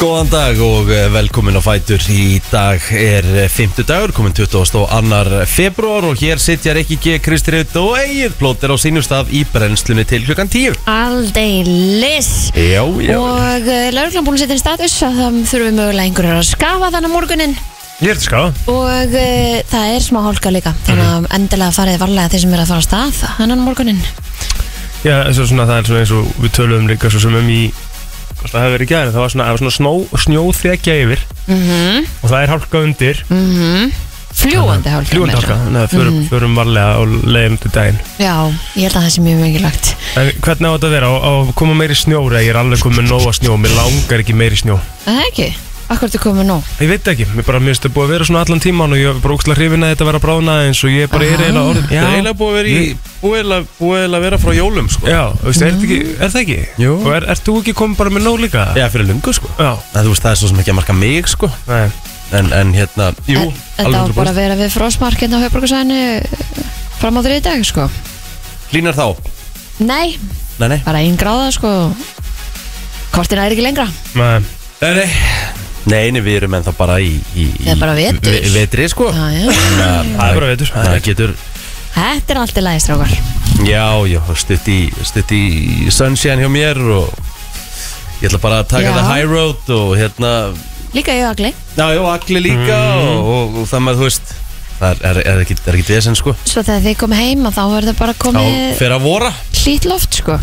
Góðan dag og eh, velkomin á Fætur Í dag er eh, fymtudagur, komin 22. februar og hér sitja Rikki G. Kristrið og Egil Plóter á sínum stað í brennslunni til klukkan 10 Aldeilis Já, já Og uh, lauruglan búin að setja inn status að það þurfum við mögulega einhverjar að skafa þannig morgunin Ég sko. er til ská og uh, það er smá hálka líka þannig Mhm. að endilega farið varlega þeir sem er að fara að stað þannig morgunin Já, eins og svona það er svona eins og við töluðum líka svo sem um í hvort það hefur verið gæðin, það var svona, það var svona snó, snjóþekja yfir mm -hmm. og það er hálka undir mm Fljúandi hálka fljúandi hálka, þannig að förum, Mhm. förum varlega og leiðum til daginn Já, ég held að það sé mjög mikilvægt En hvernig á þetta að vera, á, á að koma meiri snjóra ég er alveg komið nóga snjó, mér langar ekki meiri snjó Er Það ekki, akkur þú komið nóg Ég veit ekki, mér bara minnst að búið að vera svona allan tíman og ég er bara ógstlega hrifin að þetta vera að bráðna eins og ég bara er Aha. eiginlega orðin Það er eiginlega búið að vera í- búið eiginlega- búið eiginlega að vera frá jólum sko Já, veistu, er, ekki, er það ekki? Jú. Og er, ert þú ekki komið bara með nóg líka? Já, fyrir lungu sko Já, Það, þú veist, það er svo sem ekki að marka mig sko nei En, en hérna, jú, En- Þetta á bara að vera við frósmarkinn á höfbrukusæðinu fram á þrið dag sko Línar þá? Nei, Nei, nei bara einn gráða sko Kortina er ekki lengra Nei, Nei, nei Nei, nei, við erum ennþá bara í, í, í Það er bara vetur. ve- Vetri sko Já, já. það er bara veitur Það getur Þetta er alltaf lægist rákar Já, já, stutt í, stutt í Sunshine hjá mér og ég ætla bara að taka Já. það high road og hérna, Líka ég agli já, já, allir líka og, og, og það maður, þú veist, það er, er, er ekki, er ekki vesen, sko. Svo þegar þið komið heim að þá verður það bara Þá komið fer að vora. hlýtt loft sko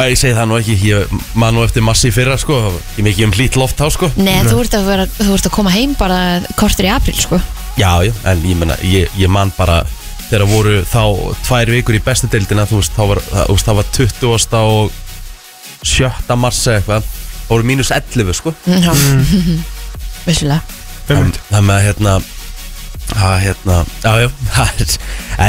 Æ, ég segi það nú ekki, ég man nú eftir massi í fyrra, sko, ég mikið um hlýtt loft þá, sko. Nei, Þú, ert að vera, þú ert að koma heim bara kortur í april sko Já, já, en ég menna, ég, ég man bara, þegar voru þá tvær vikur í bestu deildina, þú veist, þá var, það, þú veist, það var 20. og 7. mars eða eitthvað, þá voru mínus 11, sko. mm. Vissulega Einmitt. Það með að hérna að hérna, já, já, það er-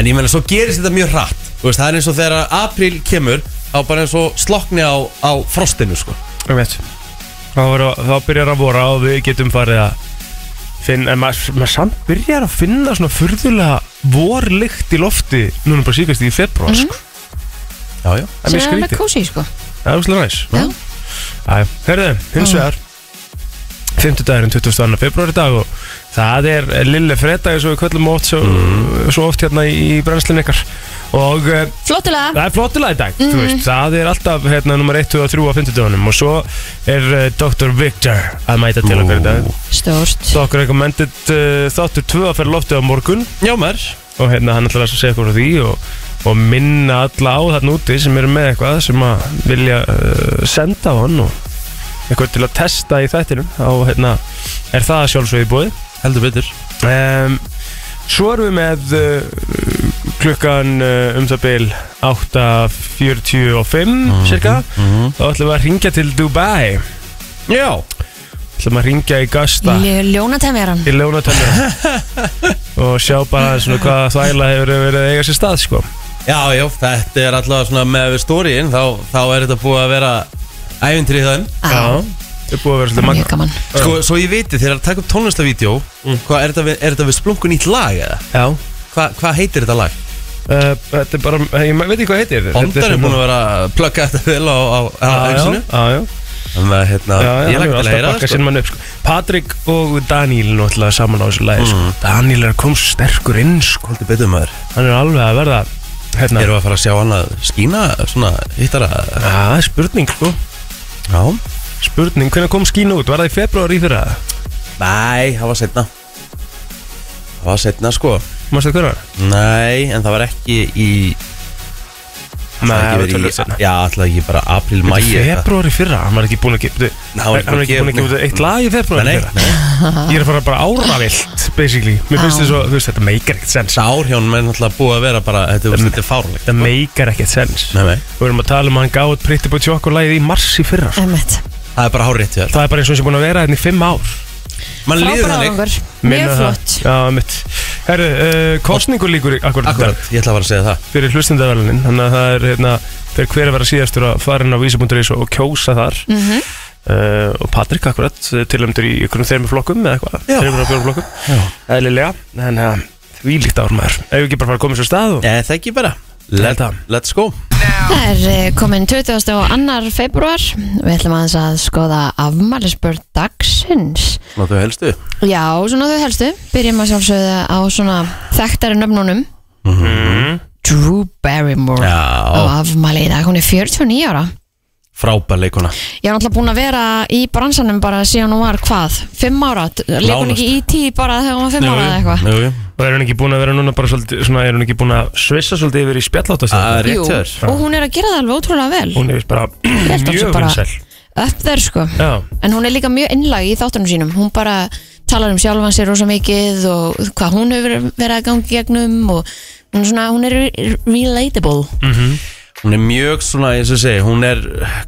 en ég meina svo gerist þetta mjög hratt Þú veist, það er eins og þegar apríl kemur þá bara eins og slokni á, á frostinu sko. Einmitt. Um Þá, er, þá byrjar að vora og við getum farið að finna, en maður, maður samt byrjar að finna svona furðulega vorlykt í lofti núna bara síkast í februar Mhm. sko. Já, já, Það er mjög Sem alveg skrítið, kósi sko það er úrslega næs Já. Æ, Herðu, hins Já. vegar 50 dagurinn 22. februar í dag og það er lille fredag eins og við kvöllum oft svo, svo oft hérna í brennslinn ykkar og eh, Flottulega Það er flottulega í dag, þú veist, það er alltaf hérna nummer 1, 2 og 3 á 50 dögunum og svo er uh, Dr. Victor að mæta til okkur í dag. Stórst Dokkur recommended uh, þáttur 2 að fara í loftið á morgun já maður og hérna hann ætlar að segja eitthvað frá því og, og minna alla á þarna úti sem eru með eitthvað sem að vilja uh, senda á hann og eitthvað til að testa í þættinum og hérna er það sjálfsög í búið. heldur betur Um, svo erum við með uh, klukkan uh, um það bil 8.45 cirka Þá ætlum við að ringja til Dubai Já, ætlum að ringja í Gasta Ljónatan er hann í Ljónatöndur og sjá bara svona hvað þvæla hefur verið að eiga sér stað sko já, já, þetta er allavega svona með við stóriðin þá, þá er þetta búið að vera ævintri í þann Á, Það er búið að vera það svolítið Ah, er magna Mjög gaman Sko, svo ég viti, þegar að taka upp tónlistavídeó hvað, er þetta við, er þetta við splunkun nýtt lag eða? Já Hva, hvað heitir þetta lag? uh, Þetta er bara, ég veit ekki hvað heitir Bondar er búin að vera að plugga þetta vel á, á, á Já, exinu já, já Þannig að hérna, Já, já, ég lagt hann hefur að alltaf leira bakkað sinn mann upp sko. Patrik og Daníl náttúrulega saman á þessu lagi sko. Mm. Daníl er að koma svo sterkur inn sko. Haldur betur maður hann er alveg að verða hérna, Erum við að fara að sjá hann að skína svona hittara Já, það er spurning sko. Já spurning, hvernig kom skín út, var það í februar í fyrra Nei, það var setna Það var setna sko mástu það hverja? Nei, en það var ekki í Nei, það það var var tölvöld í, seinna. Já, alltaf ekki bara april, mæ februar í fyrra, hann var ekki búin að gefa Nei, hann var ekki búin að gefa út eitt lag í februar Nei, í nei, fyrra Ah. ég er að fara bara áravilt basically, mér finnst Já. þetta svo, þú veist, þetta meikar ekkert sens sár hjá hann menn alltaf búið að vera bara Þetta var svolítið fárlegt þetta meikar ekkert sens Nei, nei við erum að tala um að hann gáði Pretty Boy Choco lagið í mars í fyrra sko. Emmett Það er bara hárrétt hjá þér það er bara eins og þessi búin að vera hérna í fimm ár Man líður Frábæra þannig árangur Mjög Minna um það. flott Já, mitt Herru, uh, kostningur líkur í- akkurat, akkurat. Akkurat, ég ætla að fara að segja það fyrir hlustindavælunin Þannig að það er hérna fyrir hver að vera síðastur að fara inn á vísa.is og kjósa þar mm uh, og Patrik akkurat tilömdur í einhvernum þeirmur flokkum eða eitthvað, Já. þeirmur og fjórum flokkum eh, Já. eðlilega, en uh, því líkt ár maður ef við ekki bara fara að koma svo stað og Nei, það ekki Eh, bara Let, Þetta. Let's go Það er eh, komin 22. februar Við ætlum aðeins að skoða afmælisbörn dagsins Ná þau helstu Já, svona þau helstu Byrjum að sjálfsögðu á svona þekktari nöfnunum Drew Barrymore Mhm. Já, á afmæli í dag, hún er 49 ára frábær leikona Ég er náttúrulega búin að vera í bransanum bara síðan hún var hvað, 5 ára leikur hún ekki í tíð bara þegar hún var 5 ára eða eitthvað Jú, jú. Og er hún ekki búin að vera núna bara svolítið, svona, er hún ekki búin að svissa svolítið yfir í Það spjalláttast? er rétt hjá þér. og hún er að gera það alveg ótrúlega vel Hún er bara held að sé mjög bara- vinsæl. upp þær sko, Já, en hún er líka mjög innlag í þáttunum sínum, hún bara talar um sjálfan sér rosa mikið og hvað hún hefur verið að gangi gegnum og hún er svona, hún er re- relatable Mhm. Hún er mjög svona, eins og ég segi, hún er,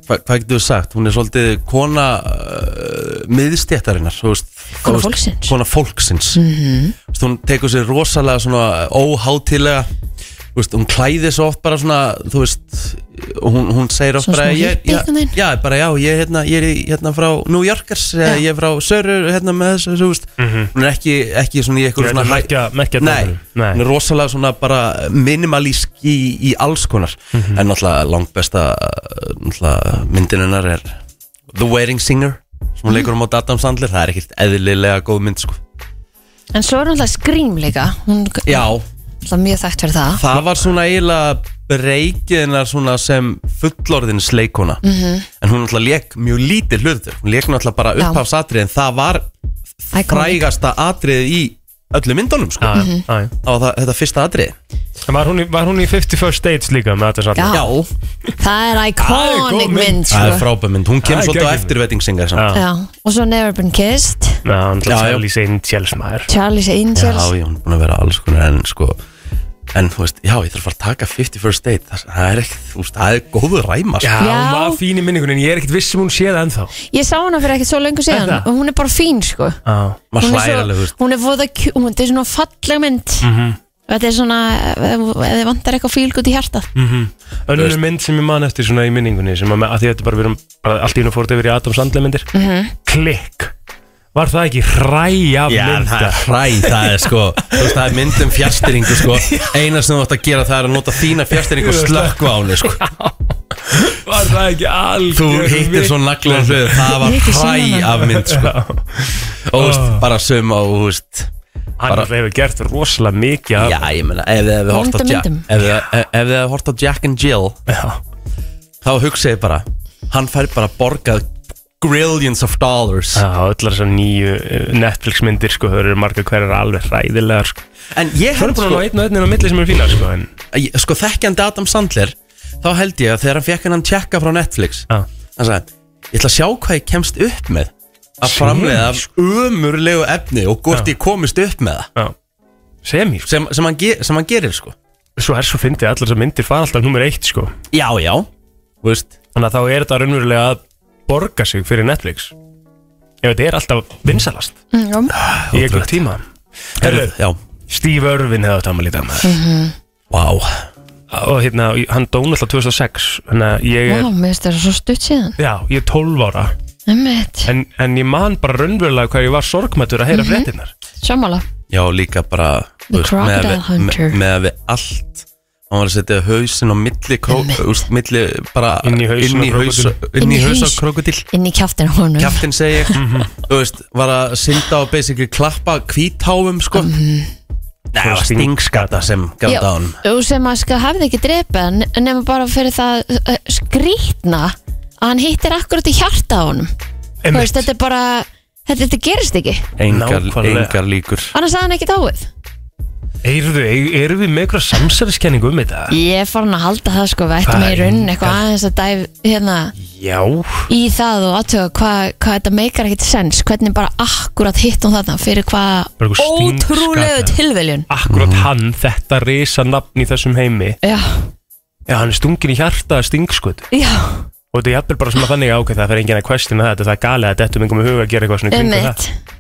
hva, hvað getur þú sagt, hún er svolítið kona uh, miðstjættarinnar, þú veist. Kona þú veist, fólksins. Mhm. Kona fólksins. Mm veist, hún tekur sér rosalega svona óhátilega, þú veist, hún klæði svo oft bara svona, þú veist, hún, hún segir oft Svona bara, smá ég, hippie já, einhvern veginn. já, bara já, ég, hérna, ég er í- hérna frá New Yorkers, Já. eða ég er frá Sörur, hérna með þessu, þú veist, hún er ekki, ekki svona í Ég eitthvað ætla svona að merkja- merkja Nei, dómarum. Nei. hún er rosalega svona bara minimalísk í, í alls konar en náttúrulega langt besta náttúrulega myndininnar er The Wedding Singer sem hún leikur um á Adam Sandler, það er ekkert eðlilega góð mynd sko. en svo er hún alltaf skrím líka hún er Já, alltaf mjög þekkt fyrir það það var svona eiginlega breykiðina svona sem fullorðins leikona -hmm. en hún náttúrulega leik mjög lítið hlutur hún leik náttúrulega bara Mhm. Já. upphafsatrið en það var Iconic. frægasta atriðið í öllu myndunum sko, já, Mhm. já. já. á það, þetta fyrsta atriðið En Var hún, í- var hún í 51st States líka með þetta Já, svolítið? það er Það er góð iconic mynd. mynd Það er sko. frábær mynd, hún kemur Það er svolítið á geggjuð eftir vettingsingar Já. Já, og svo Never Been Kissed Já, hann Já, já. Charlie's Angels maður. Charlie's Já, Angels já, hún er búin að vera alls konar en sko En þú veist, já, ég þarf að fara að taka 51st date Það- Það er ekkert, þú veist, það er góður ræma Já, sko. hún var fín í minningunni en ég er ekkert viss um hún sé það ennþá. Ég sá hana fyrir ekkert svo lengur síðan Er það? og hún er bara fín sko Já. Maður Hún er hlægir alveg, þú veist svo, hún er voða kjú- hún þetta er svona falleg mynd Þetta er svona, ef ef þið vantar eitthvað fílgut í hjarta Önnur mynd sem ég man eftir svona í minningunni sem að, með- að því þetta bara við erum bara allt í hún fórt yfir í Adam Sandler myndir. Klikk. Var það ekki hræja Já, það mynda? er hræ, það er sko Þú veist, það er mynd um fjastýringu sko Eina sem þú átt að gera það er að nota þína fjastýringu og slökku á henni sko Var það ekki algjör? Þú hittir svo naglan hlöðu, það var Hittir hræ símanum. af mynd sko Og þú veist, bara sum á, þú veist Hann Bara- alltaf hefur gert rosalega mikið af- Já, ég meina, ef þið hefði hort á Vondum Jack myndum. Ef þið- ef- ef þið hefði hort á Jack and Jill Já. þá hugsa ég bara hann fær bara borgað grillions of dollars Já, allar þessar nýju eh, Netflix myndir sko, þau eru margar hverjar alveg hræðilegar sko. en ég Svo er held bara sko, nú einn og einn á milli sem eru fínar sko, en ég- sko þekkjandi Adam Sandler þá held ég að þegar hann fekk hann tjekka frá Netflix Já. hann sagði, ég ætla að sjá hvað ég kemst upp með að framleiða af ömurlegu efni og hvort ég komist upp með það Já Semi, sko. sem, sem, hann, ge sem hann gerir sko svo er svo fyndið allar þessar myndir fara alltaf nummer eitt sko já, já, þú veist Þannig að þá er þetta raunverulega að borga sig fyrir Netflix Ef þetta er alltaf vinsalast mm, já. Í einhver tíma Herru, já, Steve Irwin hefði átt afmæli í dag maður. vá Og hérna, hann dóna alltaf 2006 Þannig að ég er, Vá, mér finnst þetta svo stutt síðan já, ég er 12 ára Einmitt, en, en ég man bara raunverulega hvað ég var sorgmættur að heyra fréttinnar sammála já, líka bara The með, Crocodile við, Hunter. með, með við allt hann var að setja hausin á milli, kró, úst, milli bara Inn í inn hausinn í á haus krókódíl. inn í Inn í haus á haus. krokodil Inn í kjaftin á honum kjaftin segi ég Mhm. þú veist, var að synda og basically klappa hvítháum sko Nei, það var stingskata sem gaf Já, það á hann og sem að sko hafði ekki drepa en nema bara fyrir það uh, skrýtna að hann hittir akkurat í hjarta á honum Þú veist, þetta er bara, þetta, þetta gerist ekki engar, Nákvæmlega. engar líkur annars að hann ekki dáið Eyrðu, erum við með eitthvað samsæðiskenningu um þetta? Ég er farin að halda það sko, við ættum Það í er raunin engar- eitthvað aðeins að dæf hérna Já í það og aðtöga hvað hva þetta meikar ekkert sens, hvernig bara akkurat hitt hún þarna fyrir Bara einhver hvað stingskat ótrúlegu eða- tilviljun. Akkurat hann, þetta risa nafn í þessum heimi Já, Já, hann er stungin í hjarta að stingskutt já, Og þetta er jafnvel bara svona þannig að ok, það fer enginn að questina þetta Það er galið að þetta um einhverjum huga að gera eitthvað svona í kringum það ummitt.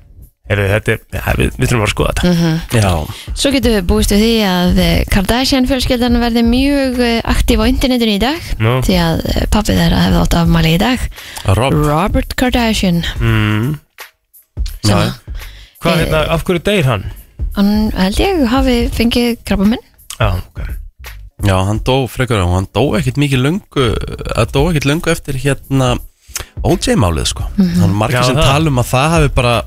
Heyrðu, þetta er, ja, við, við þurfum bara að skoða þetta Mhm. já, Svo getum við búist við því að eh, Kardashian fjölskyldan verði mjög eh, aktíf á internetinu í dag Nú. því að eh, pabbi þeirra hefði átt afmæli í dag Rob Robert Kardashian mm. sem Já. að Hvað, Eh. hérna, af hverju deyr hann? hann held ég hafi fengið krabba minn Já, ok Já, hann dó frekar og hann dó ekkert mikið löngu að dó ekkert löngu eftir hérna OJ-málið sko Mhm. hann margir Já, sem það. tala um að það hafi bara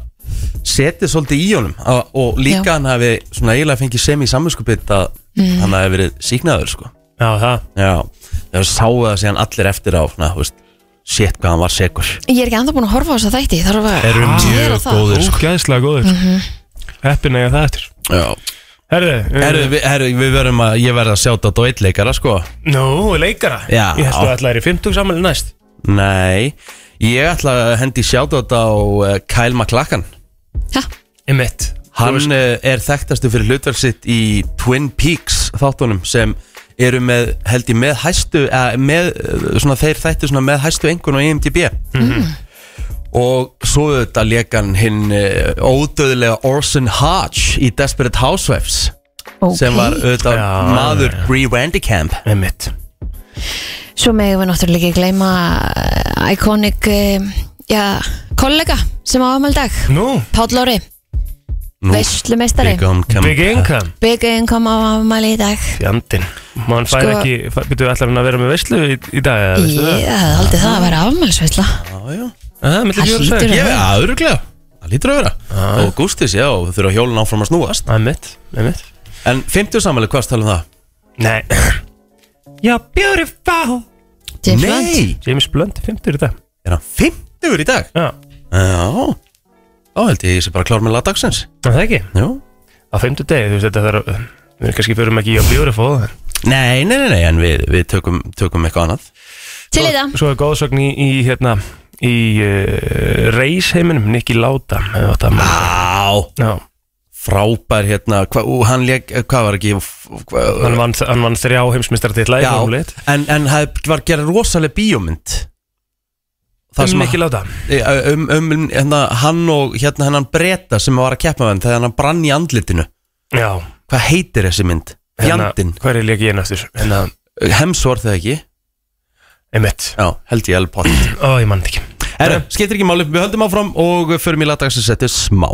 setið svolítið í honum að, og líka Já. hann hafi svona eiginlega fengið sem í samvinskupið að Mhm. hann hafi verið síknaður sko Já, það Já, þegar sáu það síðan allir eftir á svona, þú veist, sétt hvað hann var segur Ég er ekki anda búin að horfa á þess að þætti Það er að Eru gera mjög Ah, það. góðir sko Ógæðslega góður Mhm. Heppin að ég það eftir um, Já, Herðu, Herru, við, herru, við verum að, ég verð að sjáta á eitleikara sko Nú, leikara Já. Ég held að ætla er í 50 samanlega næst Nei, ég ætla að hendi sjáta á eh, Kyle MacLachlan Ha, Emmett Hann eh, er þekktastu fyrir hlutverk sitt í Twin Peaks þáttunum sem eru með, held ég, með hæstu eða með, eh, svona þeir þættu svona með hæstu engun á IMDb og svo auðvitað lekan hinn eh, ódöðlega Orson Hodge í Desperate Housewives ok. sem var auðvitað Já, maður já, já. Bree Vandekamp Emmett Svo megum við náttúrulega ekki gleyma eh, Iconic eh, Já, kollega sem á amaldag Nú, Páll Lóri, Nú, veislumeistari Income Big Income Big Income á amali í dag Fjandinn Man fær Sko- ekki, betur ætlar hann að vera með veislu í, í dag eða Ég veistu það? hafði aldrei það að vera afmælisveisla Já, já Það er Það millir fjóra hlýtur sæk að- Ég veit, það öruglega Það lítur að vera Já. Og Gústis, já, þau þurfa hjólun áfram að snúast Emmett, Emmett En 50 samvæli, hvað talum um það? Nei Já, beautiful James Blunt Nei, James Blunt er 50 í dag er hann 50 í dag? Já, Já Þá held ég að ég sé bara klár með lagdagsins en það ekki Jú Á 50 degi, þú veist þetta þarf að Við kannski förum ekki í að beautiful en- Nei, nei, nei, nei, en við, við tökum, tökum eitthvað annað Til í það Svo er góðsögn í, í hérna Í uh, reisheiminum Nicky Lauda ef þetta má- Á, Já, frábær hérna hva, ú, Hann leik, hvað var ekki hva, hann vann, hann vann þrjá heimsmyndstarditla í Já, fórmuleit en, en það var gerð rosaleg bíómynd Það Um sem að- Nicky Lauda Eh, um, um, um hérna, hann og hérna hennan breyta sem var að keppa með hann þegar hann brann í andlitinu Já, hvað heitir þessi mynd? hérna, Fjandinn, Hvað er leikið einn aftur? Hérna, Hemsworth eða ekki? Emmett Já, held ég elpott Ó, ég mann þetta ekki Herru, skiptir ekki máli, við höldum áfram og förum í lagdagsins eftir smá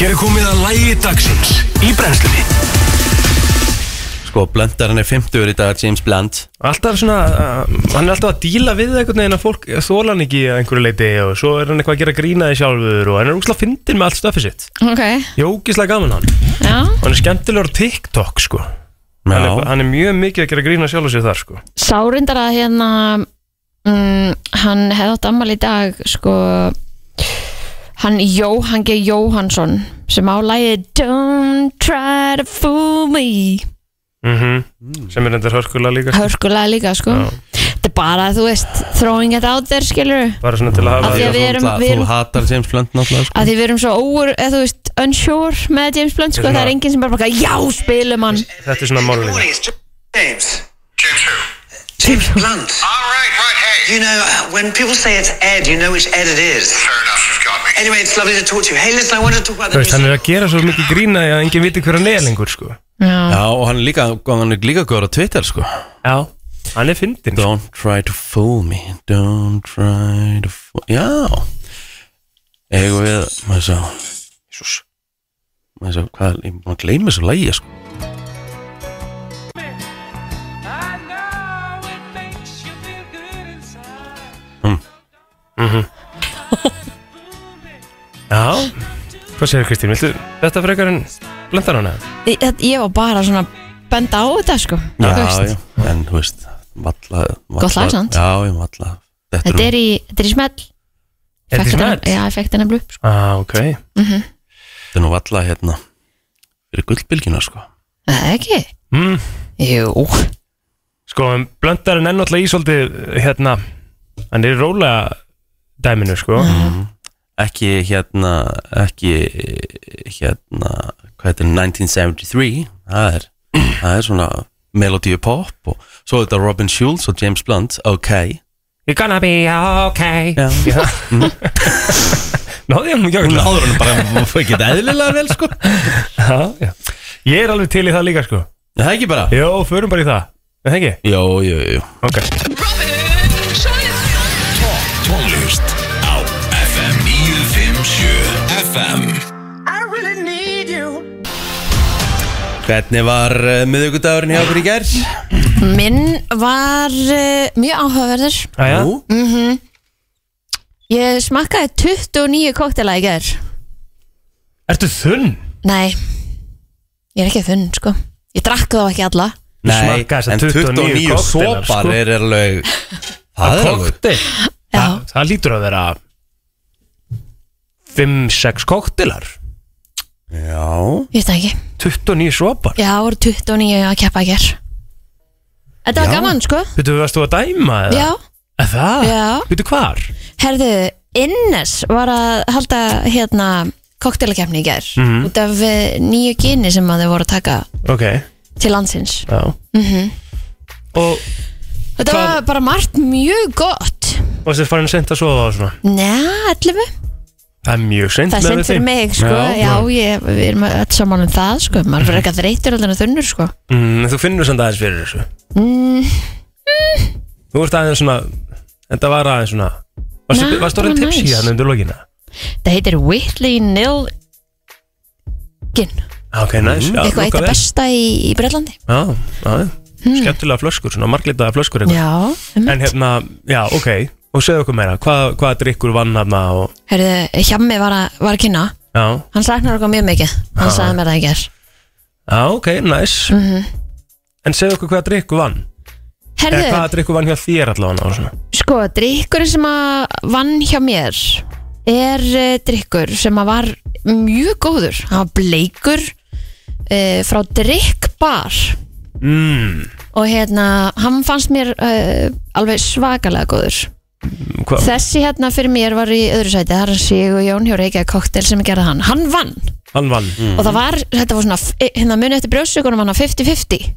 Hér er komið að lægi dagsins í brennslunni Sko, Blöndar hann er 50 í dag, James Blunt Alltaf svona, uh, hann er alltaf að díla við einhvern veginn að fólk þóla hann ekki að einhverju leiti og svo er hann eitthvað að gera grínaði sjálfur og hann er úkslega fyndin með allt stöfið sitt Ok, Ég er ógislega gaman hann og já hann er skemmtilegur á TikTok sko hann er, Já, hann er mjög mikið að gera grínaði sjálfur sér þar sko Sárindar að hérna mm, Hann hefði átt ammali í dag Sko Hann Jóhann G. Jóhansson Sem á lagið Don't try to fool me mm sem er endur hörkulega líka sko. Hörkulega líka sko Já. Þetta er bara, þú veist, throwing it out there skilur bara svona til að hafa Af því að við erum- náttúrulega- við erum- Þú hatar James Blunt náttúrulega sko. að því við erum svo óur, eða þú veist, unsure með James Blunt, sko, Þetta er það er svona- enginn sem bara bara, já, spilum hann þetta er svona málulega Morning, it's James. James who? James Blunt. All right, right, hey. You know, uh, when people say it's Ed, you know which Ed it is. Fair enough, you've got me. Anyway, it's lovely to talk to you. Hey, listen, I want to talk about the Þú veist, hann er recent... að gera svo mikið grínaði að enginn viti hver hann er lengur sko Já, og hann er líka, sko, hann er líka góður á Twitter sko Já, hann er fyndin sko. Don't try to fool me Don't try to fool Já Egu við Maður sá Jesus Maður sá hvað Ég maður gleymi þessu lægi sko Já, hvað segir Kristín, viltu þetta frekar en blendar hana? ég, ég var bara svona benda á þetta, sko Já, Þú veist. já En þú veist Valla valla- Gott lag, sant? Já, ég valla um þetta er í, þetta er í smell Er þetta í Fekk smell? þetta- Já, ég fekk þetta nefnilega upp, sko Ah, ok. Þetta er nú valla hérna Fyrir gullbylgjuna sko Það er ekki? Mm. Jú, Sko, en blöndarinn er náttúrulega í svolítið, hérna, hann er í rólega dæminu, sko. Ekki hérna Ekki hérna Hvað heitir 1973 Það er Það er svona Melodíu pop og svo er þetta Robin Schulz og James Blunt, ok You're gonna be okay. Já. Já. Náði ég hann mjög Hún ekki. áður hann bara Fór ekki eðlilega vel sko Er Já, já. Ég er alveg til í það líka, sko. Það ekki bara Jó, förum bara í það. Er það ekki? Jó, jú, jú Ok. Tónlist á FM 957 FM Hvernig var uh, miðugudagurinn hjá okkur í gær? Minn var uh, mjög áhugaverður Æja, Nú? Ég smakkaði 29 koktela í gerð ertu þunn? Nei, ég er ekki þunn sko Ég drakk þá ekki alla Nei, smakkaði þessa en 29 29 kokteila, sopar sko. er alveg Það er alveg Kokteil Já. Þa, Það lítur að vera 5-6 koktilar Já Ég veit það ekki 29 svopar Já, það voru 29 að keppa í gerð Þetta var Já. gaman sko Veitu, varst þú að dæma eða? Já, Er Það? Já. Veitu hvar? herðu, Innes var að halda hérna koktelakefni í gerð Mhm. Út af eh, nýju kyni sem að þau voru að taka Ok, til landsins já mm Mhm. -hmm. Og, Þetta Hvað- var bara margt mjög gott og þessi farin sent að sofa og svona Nei, 11 Það er mjög sent Það er synd fyrir mig, sko, já, ég, við erum öll saman um það, sko, maður fyrir eitthvað þreytur allan að þunnur, sko. mm, Þú finnur samt aðeins fyrir þessu mm. Mm. Þú ert aðeins svona Þetta var aðeins svona Varstu, Nei, varstu orðin bara tipsi næs. hérna undir lokina? Það heitir Whitley Nil Gin, Ok, næs já, Mm. eitthvað eitt lokað af vel. besta í, í Breitlandi. Já, já, skemmtilega flöskur, svona marglitaða flöskur eitthvað. Já, um, En hérna, já, ok Og segðu okkur meira, hvað, hvað drikkur vann hana og, herðu, Hjammi var að, var að kynna, Já, hann saknar okkur mjög mikið, hann sagði mér það í gerð. já, ok, næs En segðu okkur hvað drikkur vann Eða Mhm. Herðu, Eh, hvað drikkur vann hjá þér allavega og svona. sko, drikkurinn sem að vann hjá mér er uh, drikkur sem að var mjög góður, hann var bleikur uh, frá drikkbar. mm, og hérna, hann fannst mér uh, alveg svakalega góður hvað, þessi hérna fyrir mér var í öðru sæti það er Sigur Jón hjá Reykjavík koktel sem gerði hann hann vann Hann vann og það var, þetta var svona f- hérna muni eftir brjóðsökunum hann að 50-50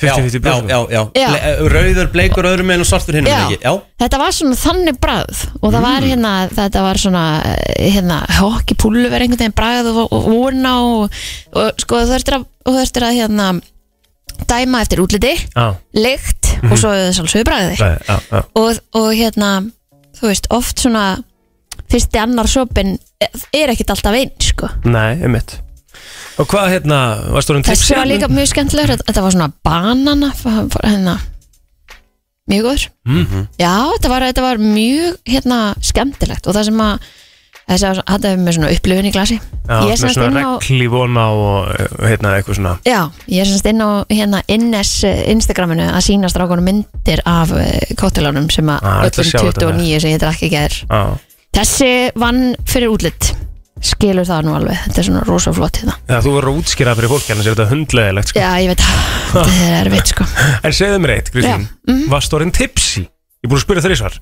Já, 50-50 já, brjóðsum. já, já. Já. Le, Rauður, bleikur, öðrum meginn og svartur hinn Já. ekki Já, þetta var svona þannig bragð og það var hérna, þetta var svona eh, hérna, hokki púluver einhvern veginn bragð og, og vona og, og sko þú ertir að, þú ertir að hérna dæma eftir útliti, Já, lykt og svo þessalsögu bragði já, já, já. og, og hérna þú veist, oft svona fyrsti annar sopin er ekkit alltaf einn sko. Nei, einmitt Og hvað hérna, varstu hérna? orðin tipsi? þessi var líka mjög skemmtilegur þetta- þetta var svona banana f- f- hérna, mjög góður Mhm. já, þetta var, þetta var mjög hérna, skemmtilegt og það sem að þessi var, þetta er með svona upplifin í glasi Já, ég með er semst svona inn á regli vona og eh, hérna eitthvað svona já, ég er semst inn á hérna Innes eh, Instagraminu að sína strákunum myndir af kóttelánum sem að Ah, þetta öllum sjá þetta 29 sem ég drakk ekki er Já, Þessi vann fyrir útlitt skilur það nú alveg, þetta er svona rosa flott hérna. þegar þú verður að útskýra fyrir fólk hérna sér þetta hundlegilegt sko. Já, ég veit að þetta er erfitt sko En segðu mér eitt, Kristín, mhm. varstu orðin tipsi? Ég er búin að spyrja þrísvar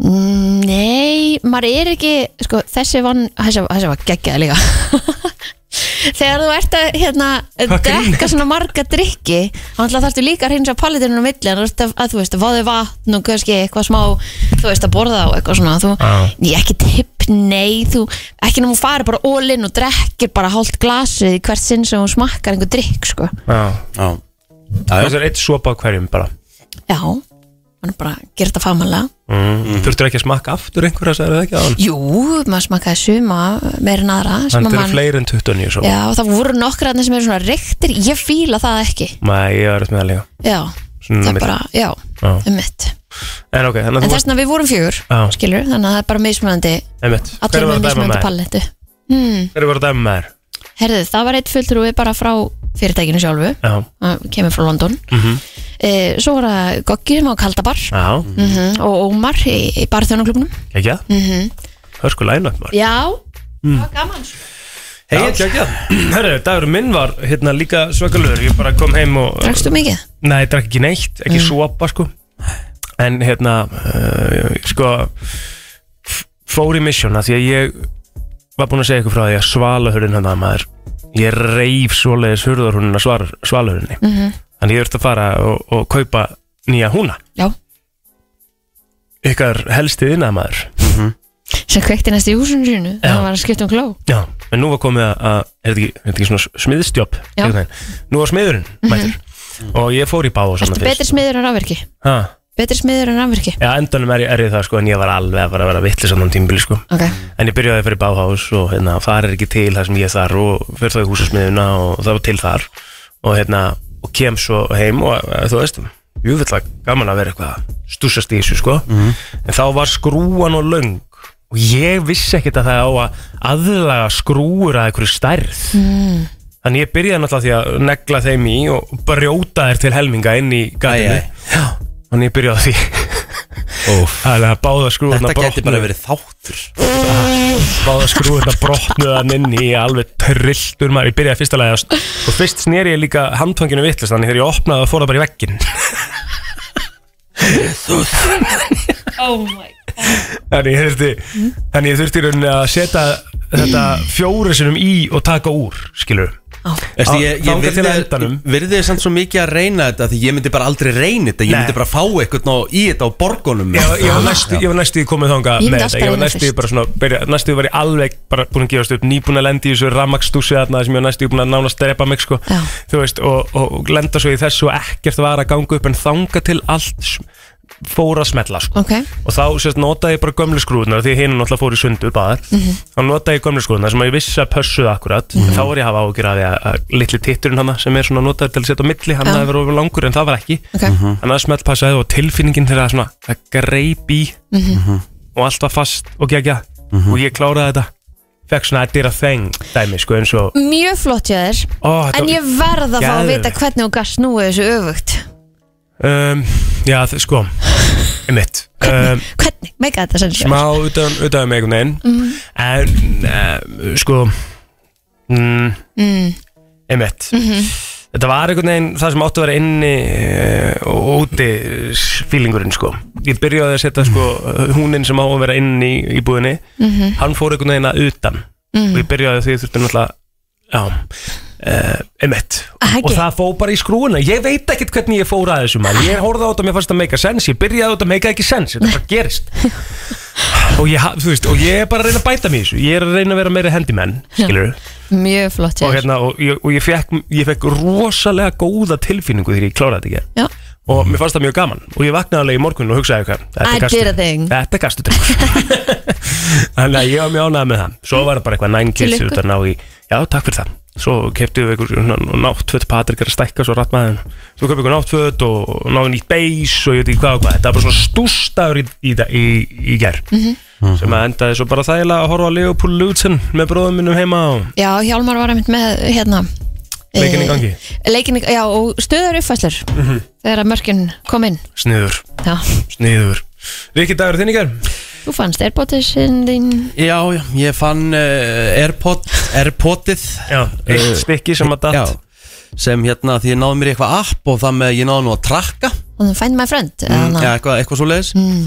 Nei, maður er ekki sko, þessi vann, þessi, þessi var geggjað líka Þegar þú ert að hérna, Hvað drekka grínast? svona marga drikki þá náttúrulega þarftu líka að hreinsa pallitinu á milli en þú ert að, að þú veist, að fáðu vatn og kannski eitthvað smá, þú veist, að borða og eitthvað svona, þú, Já. ég ekki tipp nei, þú, ekki nú farið bara all in og drekkir bara hálft glasið í hvert sinn sem þú smakkar einhver drikk, sko Já, já, já, þessi er eitt sopa á hverjum bara Já, hann er bara að gera þetta fagmannlega mm. Þurftur ekki að smakka aftur einhverja, sagði það ekki á hann Jú, maður smakkaði suma meira en aðra sem Þannig að eru mann- fleiri en 29 sopa Já, það voru nokkra þarna sem eru svona reyktir Ég fíla það ekki Nei, ég er eftir með það líka Já, Svona það er mitt. bara, já, Já. um mitt En ok, þannig að En þú þess vegna við vorum fjögur, Já. skilur Þannig að það er bara mismunandi einmitt Allir voru með að dæma með mismunandi þér? pallettu Hver voru að dæma með þér? Herðu, það var eitt fulltrúi bara frá fyrirtækinu sjálfu Já, Það Kemur frá London mm Mhm. Svo var það Goggi sem á Kaldabar já, mm Og Ómar í, í barþjónuklubnum ekki að? Mm Mhm. -hmm. Hörsku læna upp maður Já, það var gaman sko. Hei, ekki ekki að Hörru, dagur minn var hérna líka svakalugur Ég bara kom heim og Drakstu mikið? Nei, ég drakk ekki neitt, ekki sopa sko En hérna uh, Sko f- Fór í misjón að því að ég Var búinn að segja ykkur frá því að svalahurinn hann að maður Ég reif svoleiðis hurðarhúnin að svar, svalahurninni Mhm. Þannig ég þurfti að fara og, og kaupa nýja húna Já, Ykkar helsti innamaður sem kveikti næst í húsinu sínu Já. Það var að skipta um gló Já, en nú var komið að, að er þetta ekki, er þetta ekki svona hérna. smiðstjóp Já. Nú var smiðurinn mættur Og ég fór í báð og svona Ertu betri smiður en rafverki? Ha, betri smiður en rafvirki Já, endanum er ég, er ég það sko, en ég var alveg að fara að vera vittlis á náttúrulega tímbili sko. ok, En ég byrjaði að fyrir báhás og hérna, það er ekki til það sem ég þar og fyrir þá í húsasmiðuna og það var til þar og, hérna, og kem svo heim og eh, þú veist, júfullega gaman að vera eitthvað að stúsast í þessu sko Mhm. en þá var skrúan og löng og ég vissi ekkert að það á að aðlaga skrúur að einhverju stærð þannig ég byrjaði náttúrulega á því að negla þeim í og brjóta þær til helminga inn í Æ, gæðinu æ. þannig ég byrjaði á því Óf. Þannig að báða skrúðuna Þetta geti bara verið þáttur báða skrúðurna brotnuðan inn í alveg trilltur maður, ég byrjaði fyrsta lagi að- og fyrst sneri ég líka handfanginu vittlust þannig þegar ég opnaði og fór það bara í veggin oh my þannig ég þurfti þannig ég þurfti í rauninni að setja þetta fjóru sinum í og taka úr skilur Veistu, Á- ég, ég þangað til að endanum. virði- virði samt svo mikið að reyna þetta því ég myndi bara aldrei reyna þetta ég Nei. myndi bara fá eitthvað ná- í þetta á borgunum ég, var- ég var næstu, ég var næstu í komið þanga Ég myndi með allt þetta, bara ég var reyna næstu í fyrst. bara svona byrja, næstu í var ég alveg bara búin að gefast upp nýbúin að lendi í þessu ramakstúsi þarna sem ég var næstu í búin að nána að strepa mig sko, Já. þú veist, og, og, og lenda svo í þessu og ekkert var að ganga upp en þanga til allt sm- fór að smetla sko. ok, og þá sérst notaði ég bara gömlu skrúðunar því hinn náttúrulega fór í sundur baðar Mhm. þá notaði ég gömlu skrúðunar sem að ég vissi að pössuðu akkurat en þá var ég að hafa ágjur af því að, að litli titturinn hann sem er svona notaður til að setja á milli hann Já. hafði verið ofur langur en það var ekki ok þannig að smelt passaði og tilfinningin þegar það svona það greip í Mhm. og allt var fast og gegja og ég kláraði þetta fekk svona að dýra þeng dæmi sko eins og mjög flott hjá þér ó, þetta en var- ég verð að fá að Geðveikt. vita hvernig þú gast snúið þessu öfugt um, já þ- sko einmitt um, hvernig, meika þetta sem smá utan, utan um einhvern veginn en uh, sko mm, mm, einmitt þetta var einhvern veginn það sem átti að vera inni eh, og úti eh, fílingurinn sko ég byrjaði að setja sko húninn sem á að vera inni í, í búðinni hann fór einhvern veginn að utan og ég byrjaði að því ég þurfti náttúrulega já Uh, einmitt Ekki. og það fó bara í skrúuna ég veit ekkert hvernig ég fór að þessu mann ég horfði á þetta og mér fannst það meika sens ég byrjaði á þetta meika ekki sens þetta bara gerist og ég, ha- þú veist, og ég er bara að reyna að bæta mig í þessu ég er að reyna að vera meira handyman skilur mjög flott hjá og, þér hérna, og, ég, og ég, fekk, ég fekk rosalega góða tilfinningu þegar ég kláraði þetta ekki Já. og mér fannst það mjög gaman og ég vaknaði alveg í morgun og hugsaði eitthvað þetta I er gastu- did a thing. þetta er gastu þannig að ég var mjög ánægð með það svo var það bara eitthvað nine kids Til lukku. út að ná í já takk fyrir það svo keftum við einhver náttföt Patrik er að stækka svo rattmaðin svo köpum við einhver náttföt og náðum nýtt beis og ég veit ekki hvað og hvað þetta var bara svona stústaður í, í, í, í ger Mhm. sem að endaði svo bara þægilega að horfa á Leopold Lutzen með bróðum minnum heima og já, Hjálmar var einmitt með hérna Leikinn í gangi. Mhm. leikin, já, og stöðar uppfæslur þegar að mörkin kom inn sniður já, Sniður Rikki dagur þinn í gær þú fannst erbótisinn þín já, já, ég fann uh, Airpod, Airpodið Já, eitt stykki sem að já, datt sem hérna því ég náði mér í eitthvað app og það með ég náði nú að trakka og þú find my friend mm, mm, já, eitthvað, eitthvað svo leiðis mm.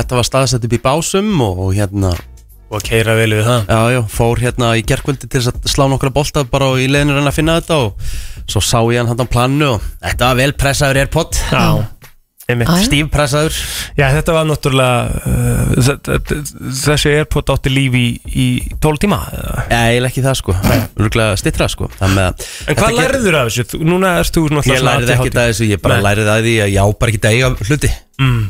þetta var staðsett upp í básum og, og hérna Og keira vel við það Já, já, fór hérna í gerkvöldi til þess að slá nokkra bolta bara og í leiðinu reyna að finna þetta og svo sá ég hann hann á plannu og þetta var vel pressaður Airpod Já Einmitt. Æ. Stíf pressaður Já, þetta var náttúrulega uh, þ- þ- þ- þessi airport átti líf í, í 12 tíma eða? Eða ekki það sko, örgulega stittra sko Þannig að En þetta hvað get- lærður af þessu? Þú- Núna erst þú náttúrulega Ég svona lærið ekki ADHD. það þessu, ég bara Nei. lærið að því að ég á bara ekki að eiga hluti mm.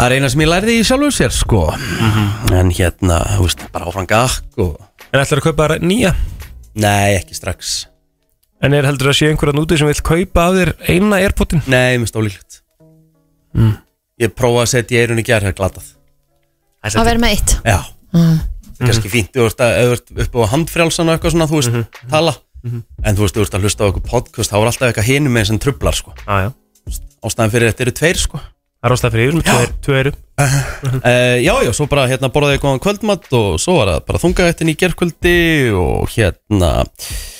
Það er eina sem ég lærið í sjálfur sér sko Mhm. En hérna, þú veist, bara áfram gakk og En ætlar að kaupa nýja Nei, ekki strax En er heldur að sé einhverjan úti sem vill kaupa af þér eina airportin? Nei, mér stólíklegt mm. Ég prófaði að setja í eirun í gær, það er glatað að vera með eitt Já mm. Kanski fínt, þú veist að ef þú ert upp á handfrjálsan og eitthvað svona, þú veist, tala En þú veist, þú veist að hlusta á eitthvað podcast þá er alltaf eitthvað hinum með sem trublar, sko Já, já Ástæðan fyrir þetta eru tveir, sko Það er ástæð fyrir yfir með Já. tveir- tveir eru uh, Já, já, svo bara hérna borðaði ég góðan kvöldmatt og svo var það bara þungaðettin í gerkvöldi og hérna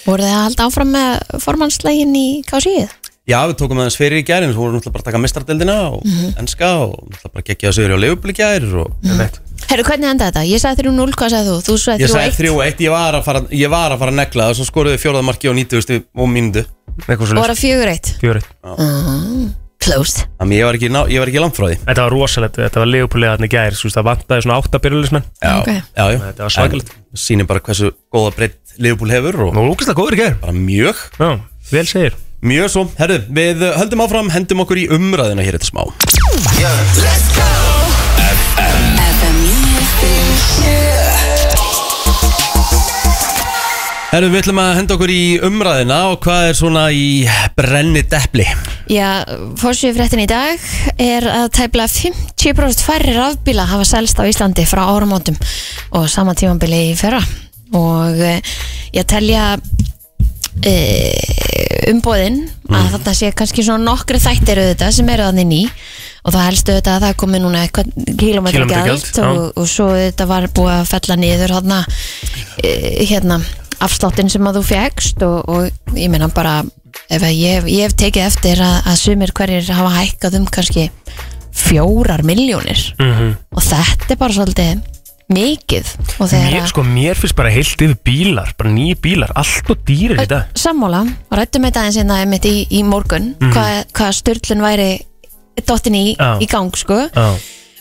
voru þið að halda áfram með formannslegin í KSÍð Já, við tókum aðeins fyrir í gær en svo vorum við náttúrulega bara að taka mistradeldina og enska og náttúrulega bara geggja þessu yfir á leifubli gær og Einmitt. herru, hvernig endaði þetta? ég sagði 3-0, hvað sagði þú? þú sagði ég sagði 3-1, 3-1 ég var að fara, ég var að fara að negla það og svo skoruði fjóraðamarki á 90 og mínundu Eitthvað og svo var það 4-1 Fjörið closed Þannig ég var ekki, ná- ég var ekki langt frá því Þetta var rosalegt, þetta var leifupúlega þarna í gær, þú veist, það vantaði svona átta byrjulismenn Já, Ok. já, já. Þetta var svakalegt. En Sýnir bara hversu góða breytt Liverpool hefur og Nú, lúkast það góður í gær bara mjög Já, vel segir Mjög svo, herru, við höldum áfram, hendum okkur í umræðina hér eftir smá FM 957 Herru, við ætlum að henda okkur í umræðina og hvað er svona í brenni deppli Já, fórsvíðu fréttin í dag er að tæpla 50% færri rafbíla hafa selst á Íslandi frá áramótum og sama tímambili í fyrra og eh, ég telja e, umbóðin að Mm. þarna sé kannski svona nokkri þættir auðvitað sem eru þannig ný og það helstu auðvitað að það er komið núna eitthvað Kílómetragjald, kilometragjald já. og, og svo auðvitað var búið að fella niður þarna e, hérna afsláttinn sem að þú fegst og, og ég meina bara ef að ég, ég hef tekið eftir að, að sumir hverjir hafa hækkað um kannski fjórar miljónir Mhm. -hmm. og þetta er bara svolítið mikið og þegar Mér, sko, mér finnst bara heilt yfir bílar, bara nýjir bílar, allt og dýrir í dag sammála og rættum þetta aðeins einna einmitt í, í morgun hvað, hvað styrlun væri dottin í, Mhm. Já. í gang sko Já,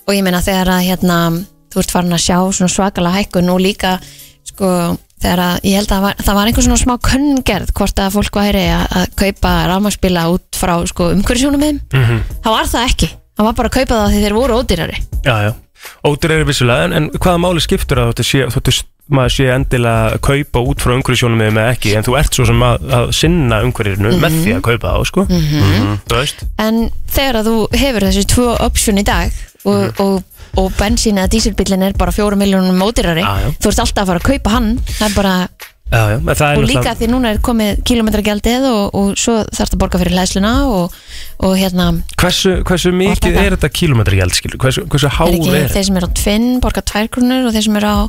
og ég meina þegar að hérna þú ert farin að sjá svona svakalega hækkun og líka sko þegar að ég held að það var, það var einhver svona smá könngerð hvort að fólk væri að, að kaupa rafmagnsbíla út frá sko umhverfisjónum þeim Mhm. það var það ekki, það var bara að kaupa það af því þeir voru ódýrari já, já Ótur eru vissulega, en, en hvaða máli skiptur að þú sé, þóttu s- maður sé endilega að kaupa út frá umhverjusjónum eða ekki en þú ert svo sem að, að sinna umhverjirinu Mhm. með því að kaupa þá, sko Þú veist? en þegar að þú hefur þessi tvö option í dag og, Mhm. og, og bensín eða dísilbílin er bara fjóra miljónum ódýrari Já, já. þú ert alltaf að fara að kaupa hann það er bara, Já, já, en það er og líka náttúrulega- því núna er komið kilometragjaldið og, og svo þarf að borga fyrir hlæsluna og, og hérna Hversu, hversu mikið þetta. er þetta kilometri gjald, skilur? Hversu, hversu háð er er, ekki þetta? þeir sem eru á tvinn borga tvær krónur og þeir sem eru á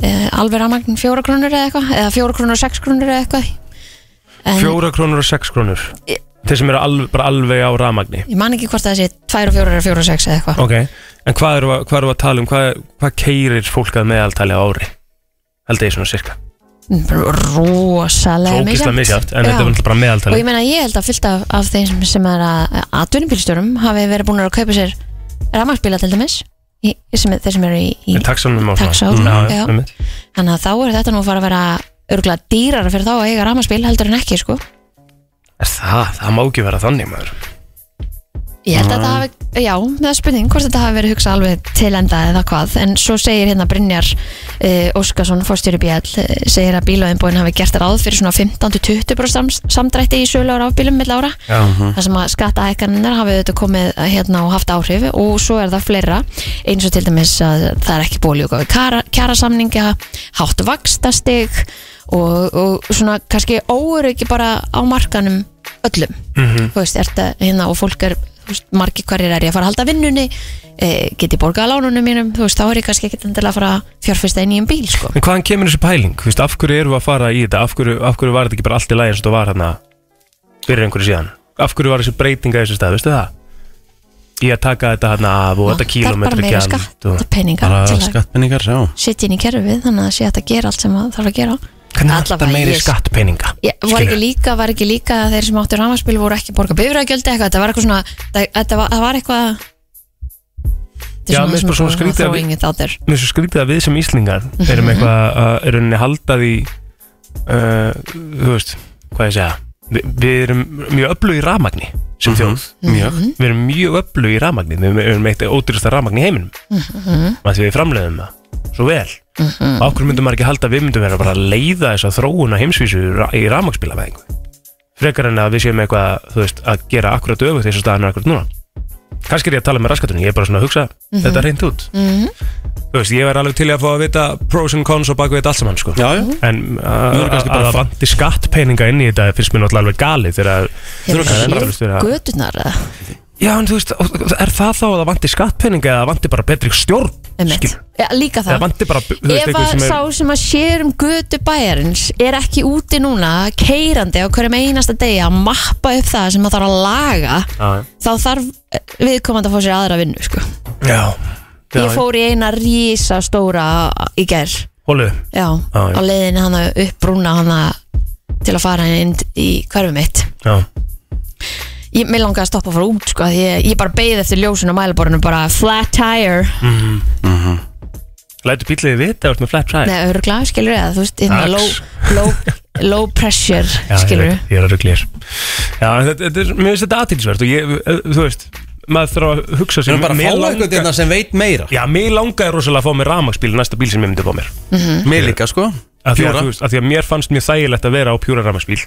e, alveg rafmagn fjóra krónur eða eitthvað eða fjóra krónur og sex krónur eða eitthvað en Fjóra krónur og sex krónur Ég- Þeir sem eru alveg, bara alveg á ramagni ég man ekki hvort það sé tvær og fjórar eða fjóra og sex eða eitthvað Ok, en hvað eru að, hvað eru að tala um, hvað, hvað keirir fólk að meðaltali á ári? Held ég svona cirka Bara Mm, Svo rosalega ógislega misjátt, en þetta er náttúrulega bara og meðaltali ég meina ég held að fyllt af, af þeim sem, sem er að atvinnubílstjórum hafi verið búin að kaupa sér rafmagnbíla til dæmis í, sem, er- þeir sem eru í, í En taksanum á svona taxa Já, já. já, einmitt. þannig að þá er þetta nú að fara að vera örgulega dýrara fyrir þá að eiga rafmagnbíl heldur en ekki sko Er það, það má ekki vera þannig maður Ég held að þetta hafi, já, það er spurning hvort þetta hafi verið hugsað alveg til enda eða hvað en svo segir hérna Brynjar uh, Óskarsson, fórstjóri BL uh, segir að bílaðinbóin hafi gert ráð fyrir svona 15-20% sams- samdrætti í sölu á rafbílum mill ára, Já, þar sem að skattahækkanir hafi auðvitað komið eh, hérna og haft áhrif og svo er það fleira, eins og til dæmis að það er ekki bóljúka við kara- kjarasamninga, hátt vakstastig og, og svona kannski óöryggi bara á markanum öllum þú veist, ert að, hérna, og fólk er þú veist, margir hverjir er ég að fara að halda vinnunni e, get ég borgað að lánunum mínum þú veist, þá er ég kannski ekkert endilega að fara að fjárfesta inn í um bíl, sko En hvaðan kemur þessi pæling? Þú veist, af hverju erum við að fara í þetta? Af hverju, af hverju var þetta ekki bara allt í lagi eins og þetta var hérna fyrir einhverju síðan? Af hverju var þessi breytinga í þessu stað, veistu það? Í að taka þetta hérna af og þetta er bara kílómetri meira gjald og... skattapeningar Bara til að skattpenningar, já setja inn í kerfið þannig að það sé hægt að gera allt sem það þarf að gera Hvernig er Allavega alltaf meiri ég- skattpeninga? Ég, var ekki Skilurðu? líka, var ekki líka að þeir sem áttu rafmarspil voru ekki að borga bifræðgjöld eitthvað, þetta var eitthvað svona það, þetta var, það var eitthvað þetta er Já, mér finnst bara svona sem- skrítið að throwing it out there. Mér er svo skrítið að við sem Íslingar Mhm. erum eitthvað að að erum henni haldað í uh, þú veist, hvað ég segja Vi, við erum mjög öflug í rafmagni sem þjóð, Mjög við erum mjög öflug í rafmagni, við erum eitt ódýrasta rafmagni í heiminum, að því við framleiðum það svo vel, og okkur myndum maður ekki halda að við myndum vera bara að leiða þess að þróun á heimsvísu í ra- í rafmagnspíla með einhver frekar en að við séum eitthvað þú veist, að gera akkurat öfugt þess að staðan er akkurat núna kannski er ég að tala með raskatunni, ég er bara svona að hugsa þetta reynd út Þú veist, ég væri alveg til í að fá að vita pros and cons og baku þetta allt saman, sko Já, já En uh, Nú erum að kannski bara það að- vandi skattpeninga inn í þetta finnst mér náttúrulega alveg galið þegar að Það Hefur er séð endalaust verið að- göturnar eða? Já, en þú veist, er það þá að það vandi skattpeninga eða vandi bara betri stjórn? Einmitt. skilur? Ja, líka Eða það vandi bara, þú veist, Ef einhver að sem er sá sem að sér um götu bæjarins er ekki úti núna keirandi á hverjum einasta degi að mappa upp það sem að þarf að laga Já, þá þarf eh, viðkomandi að fá sér aðra vinnu sko. já, já Ég fór í eina rísa stóra í ger Hólu, já, Já, já. á leiðinni hana upp brúna hana til að fara inn í hverfið mitt já, Ég, mér langaði að stoppa að fara út sko, því ég, ég bara beigði eftir ljósun á mælaborinu bara flat tire lætu bíliði vita, þú ert með flat tire Nei, örgla, skilur ég að þú veist, hérna Ax. low, low, low pressure, skilur ég, veit, ég er að rugglir Já, en þetta, þetta er, mér finnst þetta aðtilsvert og ég, eh, þú veist, maður þarf að hugsa Við sér erum bara að mér fá eitthvað langar- þetta sem veit meira Já, mér langaði rosalega að fá mér rafmaksbíl næsta bíl sem ég myndi fá mér Mér líka sko að því að, Fjóra. þú veist, að því að mér fannst mjög þægilegt að vera á pjúra rafmaksbíl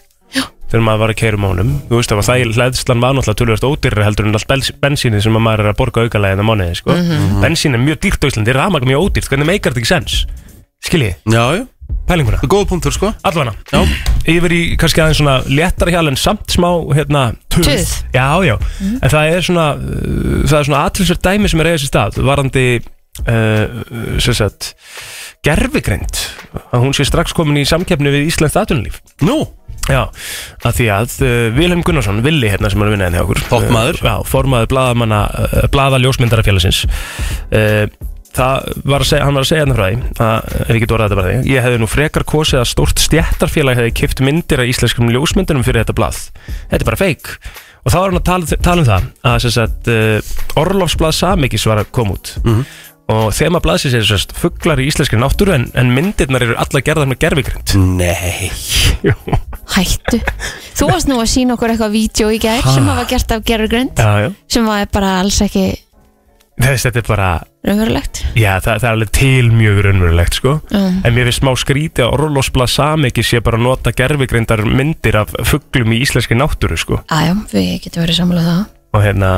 þegar maður var að keyra um ánum þú veist, það var þægilegt, hlæðslan var náttúrulega tölvöld ódýrri heldur en allt bens- bensínið sem að maður er að borga aukalæðina mánuði, sko bensín er mjög dýrt á Íslandi, rafmagn mjög ódýrt hvernig meikar þetta ekki sens? Skilji, Já, já, pælinguna það er góð punktur sko Allavega, Já. yfir í kannski aðeins svona léttara hjal en samt smá hérna, tuð. Tuð. Já, já, en það er svona uh, það er svona aðtilsverð dæmi sem er eigið sér stað varandi uh, sem sagt gerfigreind að hún sé strax komin í samkeppni við Íslands aðtunlíf Nú, Já, að því að uh, Vilhelm Gunnarsson, Villi hérna sem er að vinna hérna hjá okkur Toppmaður. uh, Já, formaður bladamanna, uh, blada ljósmyndarafélagsins uh, Það var að segja, hann var að segja hérna frá því að, ef ég get orðað þetta bara því Ég hefði nú frekar kosið að stórt stjættarfélag hefði kipt myndir af íslenskum ljósmyndunum fyrir þetta blað Þetta er bara feik Og þá var hann að tala, tala um það að sem sagt, uh, Orlofsblað Samikis var að koma út Og þema blaðsins er sérst fuglar í íslenskri náttúru en, en myndirnar eru alla gerðar með gerfigrind nei Jú hættu þú varst nú að sína okkur eitthvað vídeo í gær sem hafa gert af gerðugrind Já, já sem var bara alls ekki Þess, þetta er bara, raunverulegt já, það, það er alveg til mjög raunverulegt, sko. um, En mér finnst smá skríti að orlosbla samiki sé bara að nota gerfigreindar myndir af fugglum í íslenski náttúru, sko. aðjá, við getum verið sammála um það Og hérna,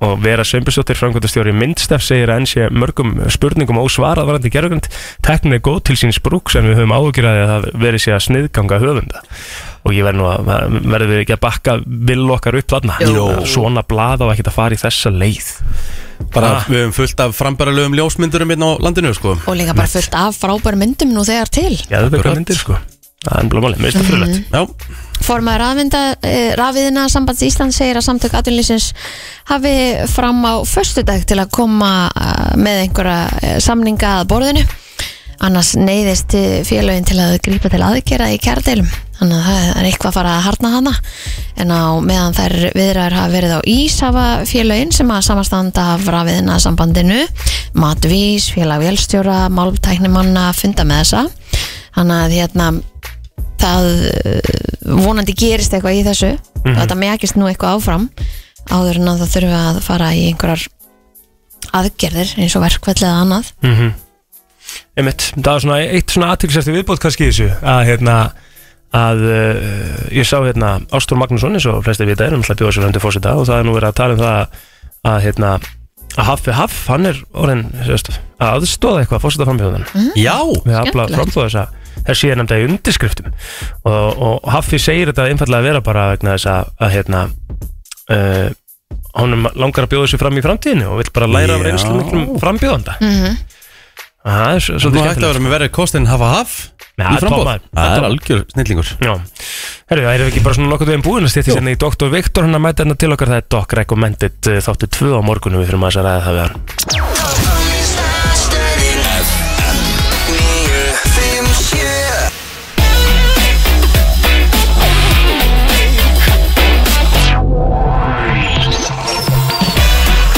og vera Sveinbjörnsdóttir framkvæmtastjóri myndstef segir að enn sé mörgum spurningum ósvarað varandi gerfigreind. Teknin er góð til síns brúks en við höfum áhyggjur af því að það veri sé að sniðganga höfunda. Og ég verð nú að, verðum við ekki að bakka vill okkar upp þarna. Jú. Svona blað á ekkert að fara í þessa leið. Bara Ah. við höfum fullt af frambæralegum ljósmyndurum hérna á landinu sko og líka bara fullt af frábæru myndum nú þegar til Já, þetta er Akkurat. bara myndir sko Það er bara málið, mér finnst það fyrirlegt Já, Formaður rafvinda, rafiðina sambands Íslands segir að samtök atvinnlýsins hafi fram á föstudag til að koma eh, með einhverja eh, samninga að borðinu annars neyðist eh, félögin til að grípa til aðgerða í kjærdeilum þannig að það er eitthvað að fara að harna hana en á meðan þær viðræður hafa verið á ís hafa félögin sem að samastanda af rafiðina sambandinu matvís, félag vélstjóra máltæknimanna, funda með þessa þannig að hérna það eh, vonandi gerist eitthvað í þessu og Mhm. þetta mekist nú eitthvað áfram áður en að það þurfi að fara í einhverjar aðgerðir eins og verkvell eða annað Mhm. Einmitt, það var svona eitt svona aðtilsæsti viðbót kannski í þessu að hérna að uh, ég sá hérna Ástór Magnússon eins og flesti vita er um hlæpjóða sem hendur fósita og það er nú verið að tala um það að hérna að Haffi Haff, hann er orðin sérst, að aðstóða eitthvað fósita frambjóðan já, við að afla Skemmtilegt. framfóða þessa þessi er nefnda í undirskriftum og, og Haffi segir þetta einfallega að vera bara vegna þess að, að hérna uh, honum langar að bjóða sig fram í framtíðinu og vill bara læra af Já. reynslu miklum frambjóðanda mm það er s- Nú svolítið hægt að skemmtilegt vera með verið kostin hafa haf Ja, í framboð toppmaður. Það er algjör snillingur Já, herru, það erum við ekki bara svona nokkuð veginn búin að stýtti sérna í Dr. Viktor hann að mæta hérna til okkar, það er Doc Recommended uh, þáttu tvö á morgunum við fyrir maður að ræða það við hann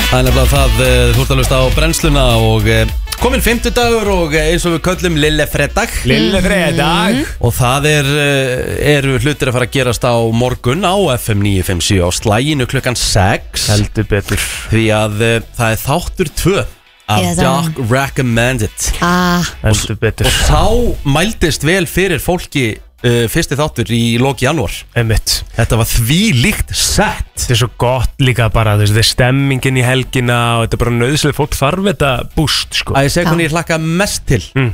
Það er nefnilega það, eh, þú ert að lusta á brennsluna og eh, kominn fimmtudagur og eh, eins og við köllum Lille Fredag Lille fredag og það er, eh, eru hlutir að fara að gerast á morgun á FM 957 á slæginu klukkan 6 Heldur betur því að eh, það er þáttur 2 af Ég er það. Dark Recommended ah, Heldur betur og þá mældist vel fyrir fólki uh, fyrsti þáttur í loki janúar Emitt þetta var því líkt sett Þetta er svo gott líka bara, þú veist, þetta er stemmingin í helgina og þetta er bara nöðslega fólk þarf þetta búst, sko. að ég segi hvernig ég hlakka mest til Mm.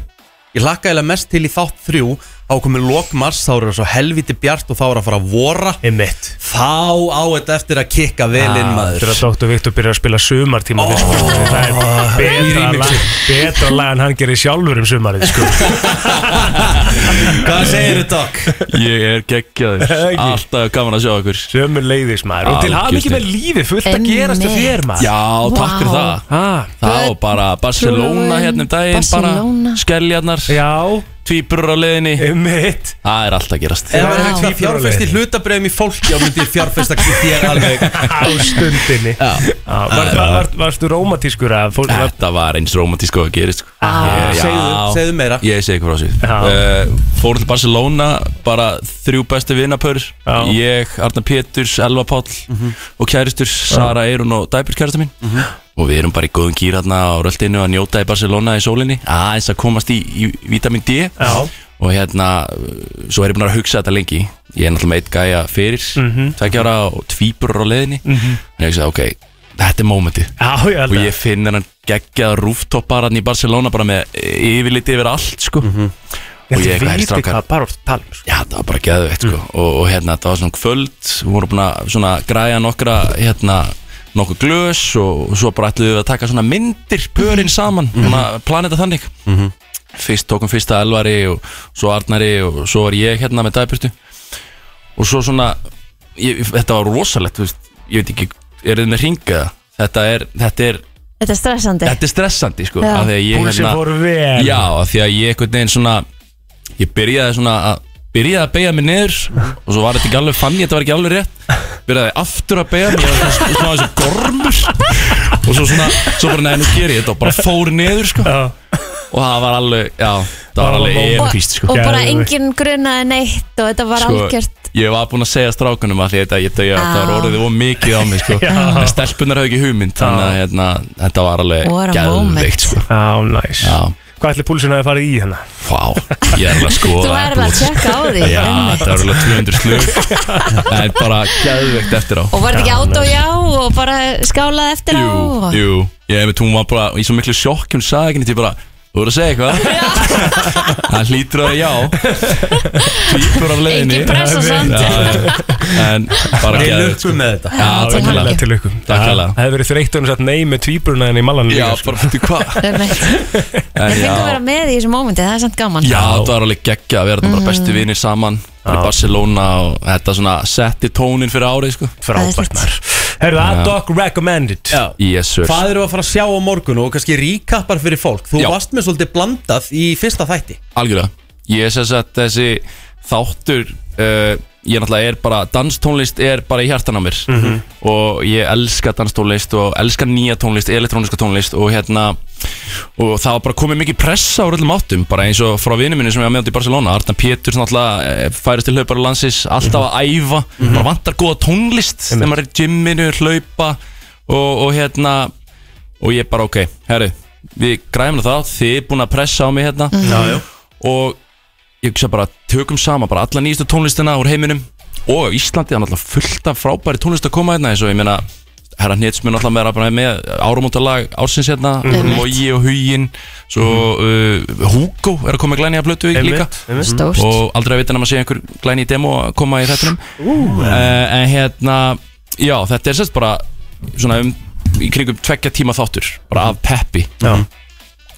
ég hlakka eða mest til í þátt þrjú þá komið lokmars, þá eru það svo helviti bjart og þá eru að fara að vora Emitt. þá á þetta eftir að kikka vel inn maður Ah, Þetta er að Dr. Viktor byrja að spila sumartíma oh, sko. Það er betra remixi. lag, betra lag en hann gerir sjálfur um sumarið, sko. hvað segir þú Doc? Ég er geggjaður Ekki. Alltaf gaman að sjá okkur Sömur leiðis, maður. Og til hafa ekki með lífið fullt að gerast að þér, maður. Já, takk fyrir Vá. það Ha, Það og bara Barcelona hérna um daginn Barcelona. bara Skeljarnar já, tvíburur á leiðinni Um mitt Það er alltaf að gerast Ef það er hægt Vá. að fjárfesta í hlutabrefum í fólki þá myndi ég fjárfesta í þér alveg Á stundinni Já. Já, var, var, var, Varstu rómatískur að fólk var Þetta var eins romantísk og að gerist sko. Ég- segðu- já. segðu meira. Ég segi hvað Ah. frá Já. sér uh, Fórum til Barcelona Bara þrjú bestu vinnapör Já. Mhm. Ég, Arna Péturs, Elva Páll Og kæristur, Sara Eirun og Dæbjörg kærasta mín Og við erum bara í góðum kýr Þarna á röldinu að njóta í Barcelona í sólinni Aðeins að komast í, í vitamin D Já. Og hérna uh, Svo er ég búin að hugsa þetta lengi Ég er náttúrulega með eitt gæja fyrir mm ára og tvíburur á leiðinni En ég hugsaði, ok, þetta er mómentið Já, ég held og að ég finn hennan geggjað rooftop bara hann í Barcelona bara með yfirliti yfir allt sko og ég eitthvað veit helst ekki rákar hvað bara oft tala um sko. já það var bara geðveikt sko og, og hérna þetta var svona kvöld við vorum búin að svona græja nokkra hérna nokkuð glös og, og svo bara ætluðum við að taka svona myndir pörinn saman svona planeta þannig fyrst tókum fyrsta Elvari og svo Arnari og svo var ég hérna með Dæbjörtu og svo svona ég, þetta var rosalegt þú veist, ég veit ekki er þið með ringa þetta er, þetta er Þetta er stressandi Þetta er stressandi sko Já. af því að ég, Púlsinn fór vel. Já, af því að ég einhvern veginn svona Ég byrjaði svona að Byrjaði að beigja mig niður Og svo var þetta ekki alveg fann ég, þetta var ekki alveg rétt Byrjaði aftur að beigja mig Ég var svona svona þessi gormur Og svo svona, svo bara neðan og geri ég þetta Og bara fór niður sko Já. Og það var alveg, já, það Það var var alveg moment. epist sko Og bara Geðveikt. engin grunaði neitt og þetta var algjört Ah. ég var búinn að segja strákunum að því þetta ég, ég, Já. þetta var orðið of mikið á mig sko. en stelpunar hafði ekki hugmynd þannig að hérna, þetta var What a alveg moment. geðveikt sko. Já, næs Já. Hvað ætli púlsun hafi farið í hérna? hana? Vá, ég er alveg að skoða Þú er alveg að tjekka á því Já, það var alveg 200 slug Það er bara gæðvegt eftir á Og var þetta ekki át og já og bara skálaði eftir á Jú, og- jú Ég hef með tóma bara í svo miklu sjokk Hún sagði ekki nýtt, ég bara Þú voru að segja eitthvað? Það hlýtur að vera já Tvípur af leiðinni Engin pressa samt. samt En bara Ég gæðvegt lukku með þetta Já, til virkilega. hamingju. Til ykkur Takk hérlega. Það hefði verið þreytt og hann satt nei með tvíburuna henni í malan Já, líka sko. bara fyrir hvað Það er neitt. En Ég fengi að já, vera með í þessu mómenti, það er samt gaman Já, það var alveg geggja að vera þarna Mm. bara bestu vinir saman bara í Barcelona og þetta svona setti tónin fyrir árið sko Frábært Æðislegt. maður Herðu, að dog recommended Já. Yes sir Hvað eru að fara að sjá á morgun og kannski ríkappar fyrir fólk Þú Já. varst með svolítið blandað í fyrsta þætti Algjörlega Ég sess að þessi þáttur uh, Ég náttúrulega er bara Danstónlist er bara í hjartan á mér Og ég elska danstónlist Og elska nýja tónlist, elektróniska tónlist Og hérna Og það var bara komið mikið pressa á öllum áttum Bara eins og frá vinnu minni sem ég var meðan í Barcelona Arna Pétur náttúrulega eh, færist til hlaupar landsins Alltaf að æfa Bara vantar góða tónlist Þegar maður er í gymminu, hlaupa Og, og hérna Og ég bara ok, herri Við græmum það, þið er búin að pressa á mig hérna Mhm. Já, já og ég hugsa bara tökum sama bara alla nýjastu tónlistina úr heiminum og á Íslandi það er náttúrulega fullt af frábæri tónlist að koma hérna eins og ég meina herra Hnitsmur náttúrulega meira bara með árumóndalag ársins hérna, Mhm. Logi og Hugin svo uh, Hugo er að koma glæni að blötu Einmitt, líka einmitt. Stórt og aldrei að vita nema að sé einhver glæni í demo að koma í þettunum uh, en hérna já þetta er sérst bara svona um í kringum tveggja tíma þáttur bara af peppi Já.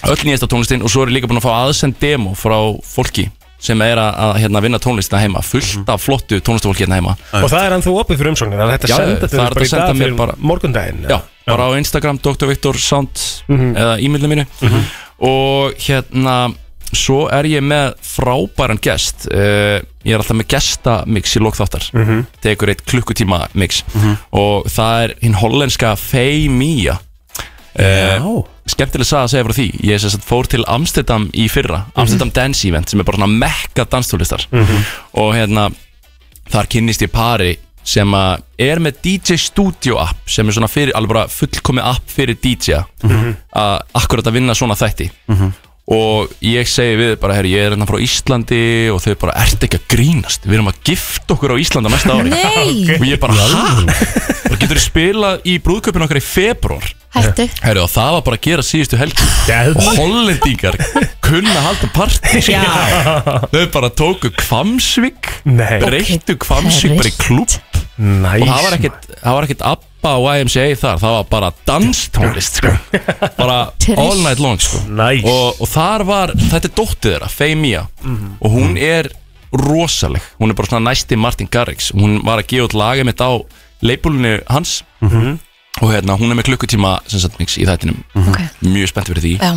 öll nýjasta tónlistin og svo er ég líka búin að fá aðsend demo frá fólki sem er að, að hérna, vinna tónlistina heima fullt af flottu tónlistafólki hérna heima Og það er hann þú opið fyrir umsóknir Það er hægt að Já, senda það er þetta bara hægt að í senda dag mér fyrir bara- morgundaginn Já, bara á Instagram Dr. Victor Sound eða e-mailinu mínu og hérna svo er ég með frábæran gest uh, ég er alltaf með gestamix í lokþáttar tekur eitt klukkutíma mix og það er hinn hollenska Faye Já, Mia Eh, skemmtileg saga að segja frá því ég sem sagt, fór til Amsterdam í fyrra Amsterdam Dance Event sem er bara svona mekka danstólistar og hérna þar kynnist ég pari sem að er með DJ Studio app sem er svona fyrir, alveg bara fullkomi app fyrir DJ a að akkurat að vinna svona þætti og ég segi við þau bara, herri, ég er hérna frá Íslandi og þau bara, ert ekki að grínast við erum að gifta okkur á Íslanda næsta ári Nei, og ég bara, hæ? og getur þið spilað í brúðköpun okkar í februar hættu Herru, og það var bara að gera síðustu helgi Geðveikt. Og Hollendingar kunna að halda partí sko. Þau bara tóku Kvamsvík Nei, Breyttu Kvamsvík bara í klúb næs Og það var ekkit, það var ekkit ABBA og YMCA þar Það var bara danstónlist sko. Bara all night long sko. Næs. og, og þar var, þetta er dóttið þeirra Faye Mia Og hún er rosaleg Hún er bara svona næsti Martin Garrix Hún var að gefa út lagið mitt á leipulunni hans Og hérna, hún er með klukkutíma sem sagt mix í þættinum Ok, Mjög spennt fyrir því já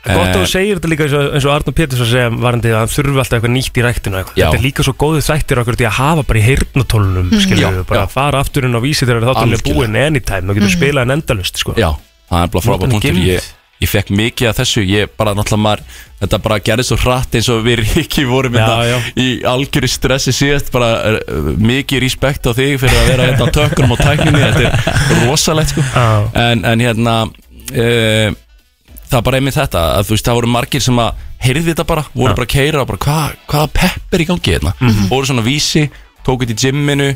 Gott að Eh, þú segir þetta líka eins og, eins og Arnur Pétursson segja varandi að hann þurfi alltaf eitthvað nýtt í ræktinu og eitthvað. Já. Þetta er líka svo góðu þættir okkur því að hafa bara í heyrnatólunum skiljum Já, við, bara já. að fara aftur inn á vísi þegar þáttunum er Algjörlega. búinn anytime og getur spilað en endalust sko. Já, það er bara frábæð Notan punktur geymd. ég, ég fekk mikið af þessu Ég bara náttúrulega maður Þetta bara gerði svo hratt eins og við ekki vorum Já, hérna já. Í algjöri stressi síðast Bara uh, mikið respekt á þig Fyrir að vera hérna á tökunum og tækninni Þetta er rosalegt sko Já. en, en hérna uh, Það er bara einmitt þetta að, þú veist, Það voru margir sem að heyrði þetta bara Voru bara að keira og bara hva, hvaða pepp er í gangi hérna Voru svona vísi Tók þetta í gymminu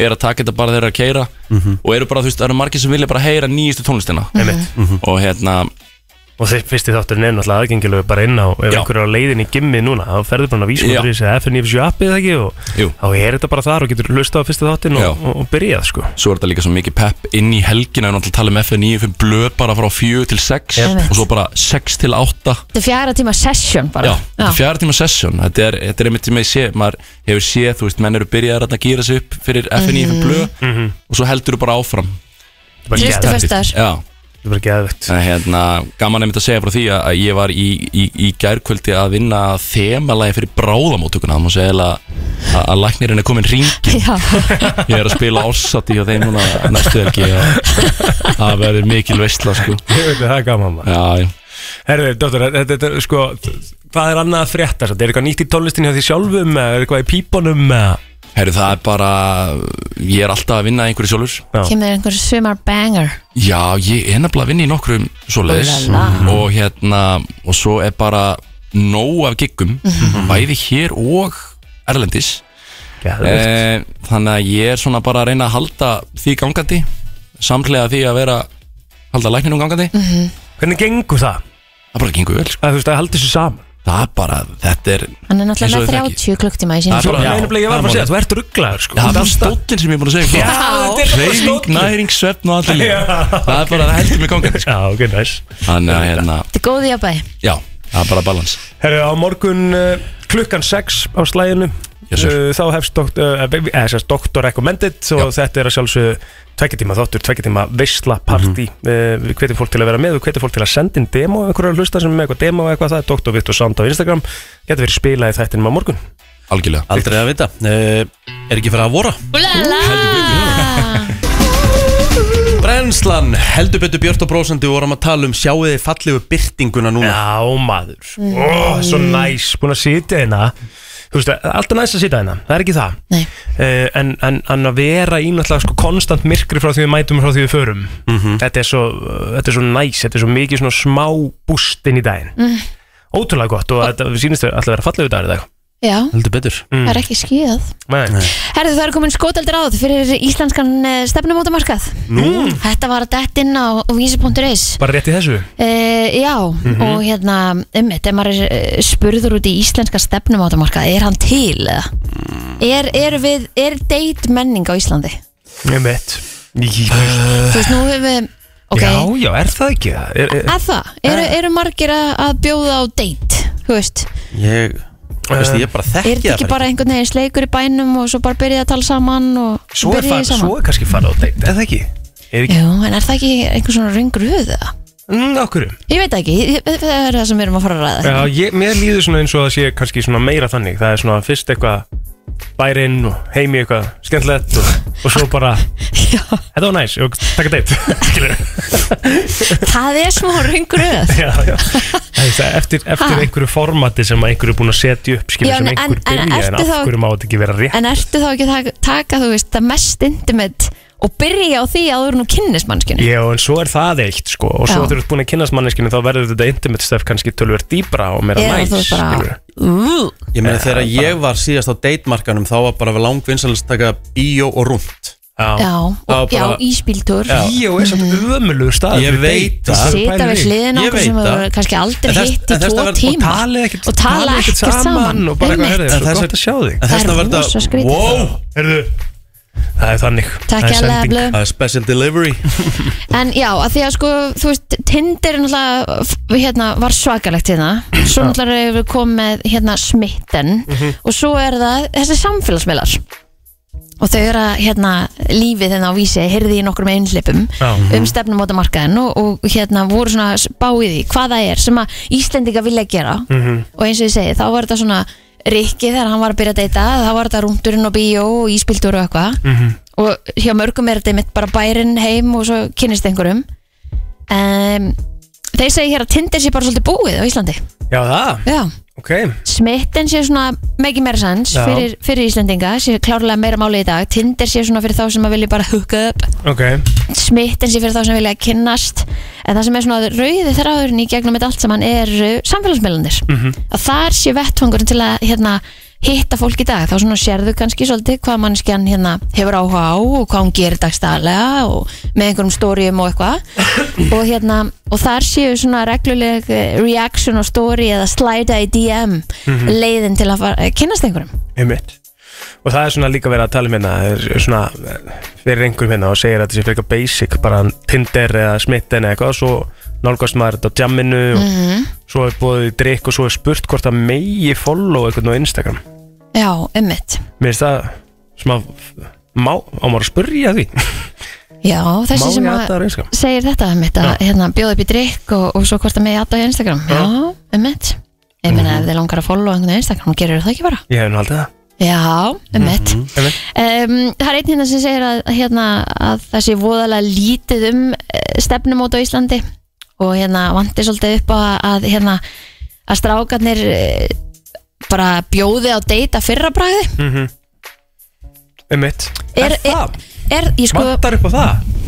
Er að taka þetta bara þegar þeir eru að keira Og eru bara, þú veist, það eru margir sem vilja bara heyra nýjustu tónlistina Einmitt. Og hérna, og þeir fyrsti þátturinn er náttúrulega aðgengilegu bara inn á ef Já. einhver er á leiðin í gimmi núna þá ferður bara á vísmundurins eða FNF7 appið eða ekki Jú. og þá er þetta bara þar og getur hlusta á fyrsta þáttin Já. og, og, og byrjað sko svo er þetta líka svo mikið pepp inn í helgina En alltaf tala um FN95 blöð bara frá 4 til 6 Einmitt. Og svo bara 6 til 8 Þetta er fjara tíma session bara Já, þetta er fjara tíma session Þetta er, þetta er einmitt sem ég sé, maður hefur séð Þú veist, menn eru byrjaðar að gýra sig upp fyrir FNI mm blöð og svo heldur þú bara áfram Þetta er bara Þristu geðveikt. föstu- Föstudagur. Já, Þetta er bara geðvegt en hérna, gaman einmitt að segja frá því að að ég var í, í, í gærkvöldi að vinna þemalagi fyrir bráðamóttökuna Það má segja eiginlega að, að læknirinn er komin ringi Já, Ég er að spila ársati hjá þeim núna næstu helgi og það verður mikil veistla sko Það er gaman maður Já, já Herðu, dóttur, þetta þetta er sko hvað er annað að frétta? samt? Er eitthvað nýtt í tónlistinni hjá því sjálfum eða er eitthvað í pípunum eða Herru, það er bara, ég er alltaf að vinna að einhverju sjálfur kemur einhver sumar banger Já, ég er nefnilega að vinna í nokkrum svoleiðis Úlala. og hérna, og svo er bara nóg af giggum, bæði hér og erlendis Geðveikt. e, Þannig að ég er svona bara að reyna að halda því gangandi samlega því að vera halda lækninum gangandi, Hvernig gengur það? það bara gengur vel sko. Að þú veist að haldi þessu saman Það er bara, þetta er Hann er Eins og náttúrulega með þið þekkið. 30 klukktíma í Það er sínum bara- Ég Já, er nefnilega- ég var bara það er að segja, þú málið. ert rugglaður sko Það Þú er bara ert alltaf- stóllin sem ég er búin að Já, segja ykkur. þetta er bara Hreyfing, stóllinn. næring, svefn og allir Já. Það er bara, það heldur mig gangandi sko. Já, ok, næs Þannig að, hérna, Þetta er góð í að bæ já, það er bara balans Herru, á morgun uh, klukkan 6 á slæðinu Yes, sir. uh, þá hefst doktor, uh, eða, sérst, doktor recommended og þetta er að sjálfsög tvekkjartíma þáttur, tvekkjartíma veisla partí uh, við hvetjum fólk til að vera með, við hvetjum fólk til að senda inn demo, einhverju að hlusta sem er með eitthvað demo eða eitthvað, það er Dr. Viktor Sand á Instagram getur verið spilað í þættinum á morgun Algjörlega Aldrei að vita uh, Er ekki fyrir að vora? Úlala Brennslan, heldur betur Björn og Brósandi vorum að tala um sjáuði fallegu byrtinguna núna Já, maður, Ó, svo næs búin að sitja hérna Þú veist, það er alltaf næst að sitja hérna, það er ekki það Nei. uh, en, en, en að vera í náttúrulega sko konstant myrkri frá því við mætum og frá því við förum þetta, er svo, eh, þetta er svo næs, þetta er svo mikið svona smá búst inn í daginn Ótrúlega gott og þetta sýnist þau alltaf að vera fallegu dagar í dag Já, Heldur betur það Hmm. er ekki skíðað Nei. Herðu, það er komin skótaldir áð fyrir íslenskan eh, stefnumótamarkað Nú Þetta var að dett inn á vísi.is Bara rétt í þessu Uh, já, Mhm. og hérna ummitt, ef maður er eh, spurður út í íslenska stefnumátamarka, er hann til? eða? Mm. Er, er, við, er date menning á Íslandi? Ég veit uh, Þú veist, nú hefur við ok, Já, Eh. já, er það ekki það? Er, er, að það, eru, eru margir að, að bjóða á date, þú veist Ég, veistu, ég bara er þekki þetta ekki bara einhvern veginn sleikur í bænum og svo bara byrjaði að tala saman og svo, er byrjaði far, saman svo er kannski farað á deitt, er það ekki? Er ekki? Jú, en er það ekki einhvern svona röngruð eða? Mm, okkur Ég veit það ekki, ég- það er það sem við erum að fara að ræða Já, ég, mér líður svona eins og það sé kannski svona meira þannig Það er svona fyrst eitthvað bærin og heimi eitthvað skemmtilegt og, og svo bara, Já, þetta var næs og taka deitt Skilur. það er smá röngruð já, já. Það er það, Eftir, eftir Ha? einhverju formati sem að einhverju er búin að setja upp skilur, Já, sem en- einhver en- en byrja en, ertu af þá- hverju má þetta ekki vera rétt En ertu þá ekki að taka, taka þú veist, það mest intimate og byrja á því að þú eru nú kynnismannskinu? Já, en svo er það eitt sko og svo Já. þegar þú ert búin að kynast manneskinu þá verður þetta intimate stöf kannski tölver dýbra og meira Eða næs þú ert bara- skilurðu. Ú, Ég meina þegar ég var síðast á datemarkanum þá var bara langvinnsalist að taka bíó og rúnt Já. Já, Það og, var bara- já, íspíltúr Bíó er samt ömulug stað Ég veit það. Sita við hliðin á Ég okkur veit sem það. hefur kannski En aldrei þess- hitt í en þess tvo að vera- og tíma tala ekkert, og tala ekkert saman og bara eitthvað Einmitt. herðið, svo Einmitt. gott að sjá þig En Það þessna er verða rosa skrítið. Wow, Herðu, það er þannig Takk Það er ég alveg sending. blöð það er special delivery En já, að því að sko, þú veist, Tinder er náttúrulega, f- hérna, var svakalegt hérna Svo náttúrulega hefur komið hérna smitten Og svo er það, þessi samfélagsmiðlar og þau eru að hérna, lífið þennan á vísi heyrði í nokkrum einhleipum um stefnumótamarkaðin og, og hérna voru svona báið í hvað það er sem að Íslendinga vilja gera og eins og ég segi þá var þetta svona Rikki þegar hann var að byrja að deyta þá var þetta rúndurinn og bíó og íspildur og eitthvað og hjá mörgum er þetta mitt bara bærin heim og svo kynnist einhverjum um, þeir segi hér að Tinder sé bara svolítið búið á Íslandi Já, það, já ok smittin sé svona megin meira sans Já. fyrir, fyrir Íslendinga, sé klárlega meira máli í dag Tinder sé svona fyrir þá sem að vilja bara hooka upp Ok, smittin sé fyrir þá sem vilja kynnast en það sem er svona rauði þráðurinn í gegnum þetta allt saman eru samfélagsmeilandir Mhm. að þar sé vettvangurinn til að hérna, hitta fólk í dag, þá svona sérðu kannski svolítið hvað mannskjan hérna hefur áhuga á og hvað hún gerir dagstæðlega og með einhverjum stórium og eitthvað og hérna, og þar séu svona regluleg eh, reaction og story eða slæta í DM Mhm. leiðin til að fara, eh, kynnast einhverjum einmitt Og það er svona líka verið að tala um hérna er- er svona eh, fyrir einhverjum hérna og segir að þetta sé frekar basic bara Tinder eða smitten eða eitthvað og svo nálgast maður þetta á jamminu og Mm. svo er búið í drikk og svo er spurt hvort að megi follow eitthvað á Instagram Já, ummitt Mér finnst það smá má, á maður að spurja því Já, Má þessi sem ég að aðdáður Instagram? segir þetta einmitt að hérna, bjóða upp í drikk og, og svo hvort að með aðdáða í Instagram Já, einmitt Ég meina ef þið langar að followa einhvern á Instagram gerir það ekki bara Ég hef nú haldið það Já, einmitt Einmitt. um, Það er einn hérna sem segir að, hérna, að það sé voðalega lítið um eh, stefnumót á Íslandi og hérna vandi svolítið upp á að, að hérna að strákarnir eh, bara bjóði á deyta fyrra bragði Einmitt Er, er, það? er, ég sko, Vantar upp á það?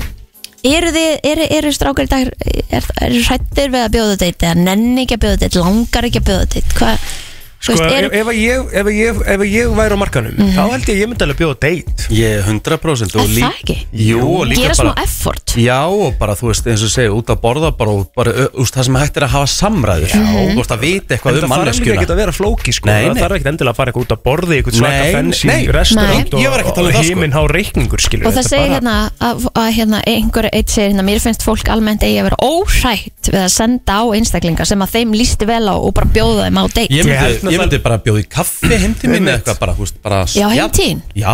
eru þið, eru, eru strákar í dag er, eru hrættir við að bjóða deitt eða nenni ekki að bjóða deitt, langar ekki að bjóða deitt hvað, sko, Sko, veist, ef, er, Mhm. ef, að ég, ef, að ég, ef að ég væri á markanum þá held ég að ég myndi alveg bjóða date Ég 100% og er lí- það ekki? Jú, og líka gera smá bara effort Já, og bara, þú veist, eins og segja, út að borða bara, og bara, ö, úst, það sem hægt er að hafa samræður Já, og þú veist að vita eitthvað En um það þarf líka manneskjuna ekki að vera flóki sko Nei, Það nei. þarf ekki endilega að fara eitthvað út að borði eitthvað svaka Nei, fensi nei. restaurant Nei. Ég var ekki að og, tala um og það, sko. heiminn há reikningur skilur og það segir hérna að, að hérna, einhver eitt segir hérna, mér finnst fólk almennt eigi að vera óhrætt við að senda á einstaklinga sem að þeim lísti vel á og bara bjóða þeim á deitt Ég Ég held myndi, nú ég það- myndi bara bjóði kaffi heim til mín Einmitt. eitthvað bara, þú veist, bara Já, heim til þín? Já,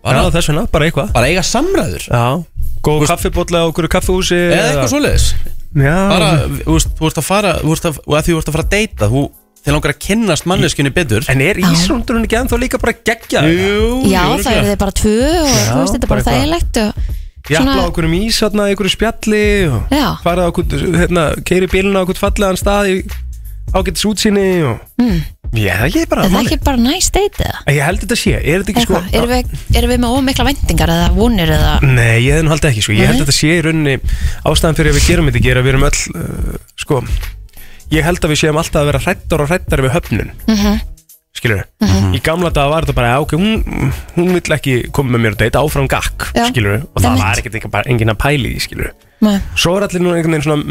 bara, bara, Já, þess vegna, bara eitthvað bara eiga samræður Já, góð kaffibólla á okkur kaffihúsi Eða eitthvað svoleiðis Já, Bara, þú veist, þú veist að fara, þú veist að, og að því þú veist að fara að deyta Þú, þeir langar að kynnast manneskjunni betur en er Íslandurinn ekki ennþá líka bara geggja já, það eru örugglega. þið bara tvö og Já, þú veist, þetta bara er bara eitthvað. þægilegt og Jafla á svona, okkur um ís hérna, í okkur spjalli og Já. fara á okkur, hérna, keiri bílina á okkur fallegan stað í ágætis útsýni og mm. Já, það er bara Hmm. er það málið. ekki bara næst deitt eða? Ég held þetta sé, er þetta ekki Sko, sko erum, við, erum við með ómikla væntingar eða vonir eða Nei, ég hefði nú haldið ekki sko, ég held að þetta sé í rauninni ástæðan fyrir að við gerum þetta ekki er að við erum öll, uh, sko ég held að við séum alltaf að vera hrættar og hrættar við höfnun, mm Mhm. skilur í gamla daga var þetta bara, já, ok, hún hún vill ekki koma með mér og deyta áfram gakk, Já. skilur, og það Einmitt. var ekkert ekki bara engin að pæli því, skilur Nei. svo er allir nú einhvern veginn svona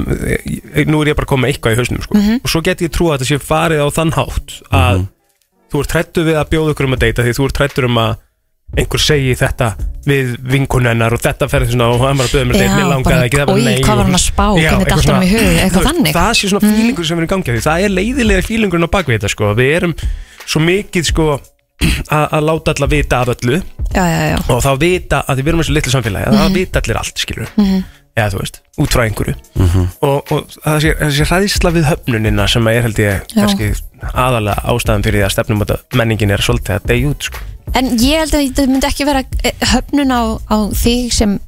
eh, nú er ég bara komið með eitthvað í hausnum, sko Mhm. og svo get ég trú að þetta sé farið á þann hátt að þú ert hrættur við að bjóða okkur um að deyta því þú ert hrættur um að einhver segi þetta við vinkunennar og þetta ferði svona og hann var að byrja mér Já, deitt, mér langaði bara, ekki, það var oj, nei hvað var og- hann að spá, Já, hvernig datt eitthvað honum svona- í hug, eitthvað þú veist, þannig. Mhm. Það sé svona fílingur sem er í gangi af því, það er leiðilega fílingurinn á bakvið þetta sko, við erum svo mikið sko að að láta alla vita af öllu já, já, já, og þá vita að því við erum eins og litlu samfélagi að Mhm. það vita allir allt skilur -hmm. eða þú veist, út frá einhverju og, og það sé, þessi hræðisla við höfnunina sem er held ég Já. kannski aðalega ástæðan fyrir því að stefnum að menningin er svolítið að deyja út sko. en ég held að þetta myndi ekki vera eh, höfnun á, á þig sem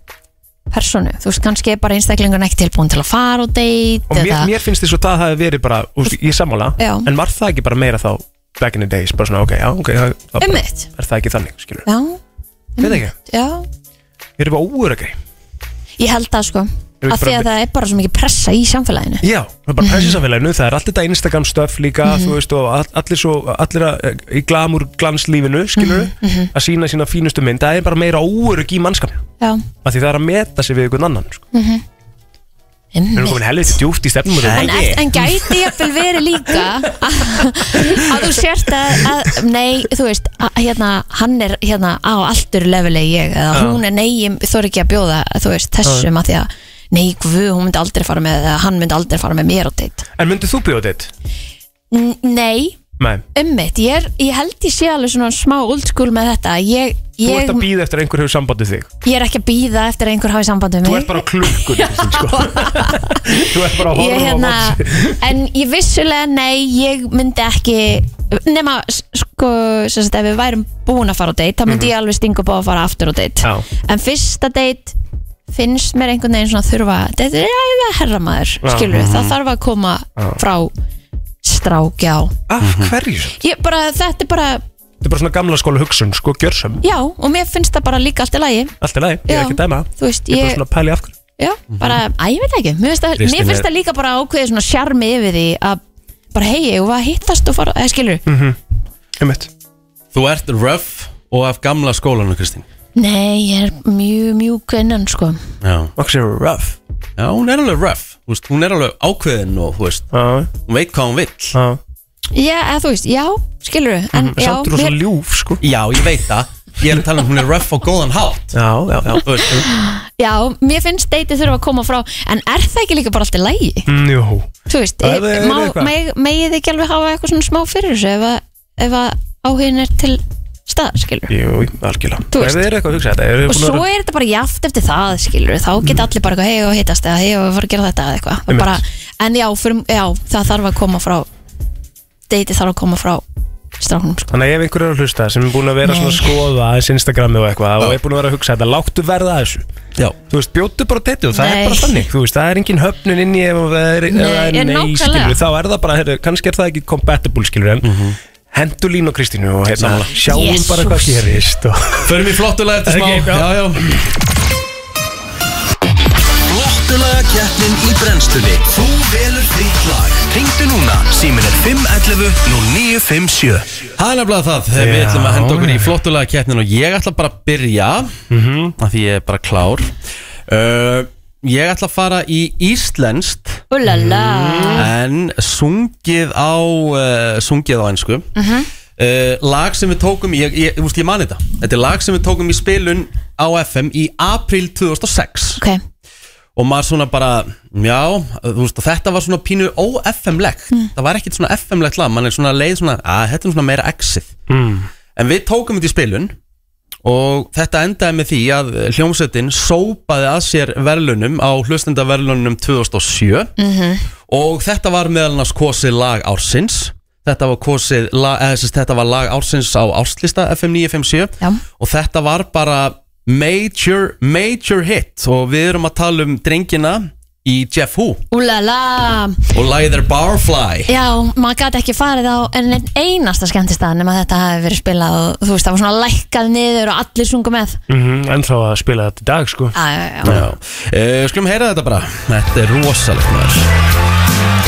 personu, þú veist kannski er bara einstaklingun ekki tilbúin til að fara og date og mér, eða, mér finnst þess að það hafi verið bara úst, ég er sammála, Já. en var það ekki bara meira þá back in the days, bara svona ok, já, ok það, það bara, Einmitt. er það ekki þannig, skilur já, við ekki, já, við erum bara óörugri ég held það sko Ég vil af því bara- að það er bara svo mikið pressa í samfélaginu Já, það er bara pressinsamfélaginu, það er allt þetta Instagram stöf líka, Mhm. þú veist, og all- allir svo, allir að, eh, í glamur glanslífinu, skilur, Mhm, að sína sína fínustu mynd, það er bara meira óörug í mannskap, já, af því það er að meta sig við einhvern annan, sko. Við erum einmitt komin helviti djúft í stefnum og En, það ert- en gæti ég fyrir verið líka að, að þú sért að, að nei, þú veist að, hérna, hann er hérna á alltur leveli ég, eða hún er nei, ég þor ekki að bjóða þú veist, þessum að því að nei, guð, hún myndi aldrei fara með, eða hann myndi aldrei fara með mér á deitt En myndið þú bjóðið þitt? N nei, Nei, Ummitt, ég, er- ég held ég sé alveg svona smá old school með þetta Ég, þú ert ég, að býða eftir að einhver hefur sambandið þig ég er ekki að býða eftir að einhver hafi samband við mig Þú ert bara klukkur sko. Þú ert bara að ég, horfa hérna, á móti En ég vissulega, nei, ég myndi ekki Nefna, sko, sem sagt, ef við værum búin að fara á date Þá myndi ég alveg stinga upp á að fara aftur á Mhm. date Já. En fyrsta date finnst mér einhvern veginn svona þurfa Þetta er æða herramaður, Já. Mhm. skilur við Það þarf að koma frá strákjá Mhm. Af hverju? samt? Ég bara, þetta er bara, Þetta er bara svona gamla skóla hugsun, sko, gjörsum já, og mér finnst það bara líka allt í lagi Allt er lagi, ég er Já. ekki að dæma það. Þú veist, Ég er bara ég, svona að pæli af hverju já, Mhm. bara, að ég veit ekki Mér finnst það- Kristín mér er- finnst það líka bara ákveðið svona sjarmi yfir því að bara hei, ég var að hittast og fara, eða skilur Mm. Einmitt. Þú ert rough og af gamla skólanu, Kristín Nei, ég er mjög mjúk innan sko Já, Maxi er rough Já hún er alveg rough þú veist, Hún er alveg ákveðin og þú veist, Já, hún veit hvað hún vill já Já, eða þú veist, já, skilur En já, Mm, Samt er hún svona ljúf, sko Já, ég veit það Ég er að tala um hún er rough og góðan hátt Já, já, já Þú veist, já, mér finnst deiti þurfa að koma frá En er það ekki líka bara allt í lagi? Mm, Jú, Þú veist, Það er- er má- eitthvað. meg- megið þið ekki alveg hafa eitthvað svona smá fyrir þessu Ef að, ef að áhugin er til stað, skilur jú, algjörlega Þú veist. Ef þið eru eitthvað að hugsa þetta eru þið Og búin að svo vera- Mm. er þetta bara jaft eftir það, skilur Þá geta allir bara eitthvað, hei og hittast eða hei og fara að gera þetta eða eitthvað Og Einmitt. bara, En já, fyrir, já, það þarf að koma frá Deiti þarf að koma frá stráknum, sko Þannig að ef einhver er að hlusta sem er búin að vera svona að skoða aðeins Instagrami og eitthvað og Já. er búin að vera að hugsa þetta, láttu verða að þessu Já, Þú veist, bjóttu bara teitu og það Nei. er bara þannig Þú veist, það er engin höfnun inn í ef það er, ef Nei, það ég er nei, nákvæmlega. skilur Þá er það bara, heru, kannski er það ekki compatible skilur en mm -hmm. hendur Lín og Kristínu og hérna, Sammála. sjáum bara hvað Jesús. gerist og... förum í flottulega eftir smá Ekki, já. Já, já Flottulega keppnin í brennstunni Þú velur þitt lag Ringdu núna, símin er 511 0957 Það er nefnilega það, þegar við Já, ætlum að henda okkur í já. flottulega keppnin og ég ætla bara að byrja Mhm. af því ég er bara klár uh, Ég ætla að fara í íslenskt Úlala Mm. en sungið á uh, sungið á einsku uh, lag sem við tókum ég, ég, ég, ég mani þetta, þetta er lag sem við tókum í spilun á FM í april 2006 Ok, og maður svona bara, já þú veist, þetta var svona pínu ó-FM-legt það var ekkit svona FM-legt lag, mann er svona leið svona, að þetta er svona meira exið mm. en við tókum þetta í spilun og þetta endaði með því að hljómsveitin sópaði að sér verðlunum á hlustendaverðlunum 2007 og þetta var meðal annars kosið lag ársins þetta var kosið lag, eða, sérst, þetta var lag ársins á árslista FM 957 já og þetta var bara major, major hit og við erum að tala um drengina í Jeff Hu Úlala, og lagið er Barfly já, maður gæti ekki farið á en einn einasta skemmtistað nema þetta hafi verið spilað og þú veist, það var svona lækkað niður og allir sungu með Mm -hmm. Ennþá að spila þetta í dag sko Já, já, já, Já, uh, skulum heyra þetta bara Þetta er rosalegt maður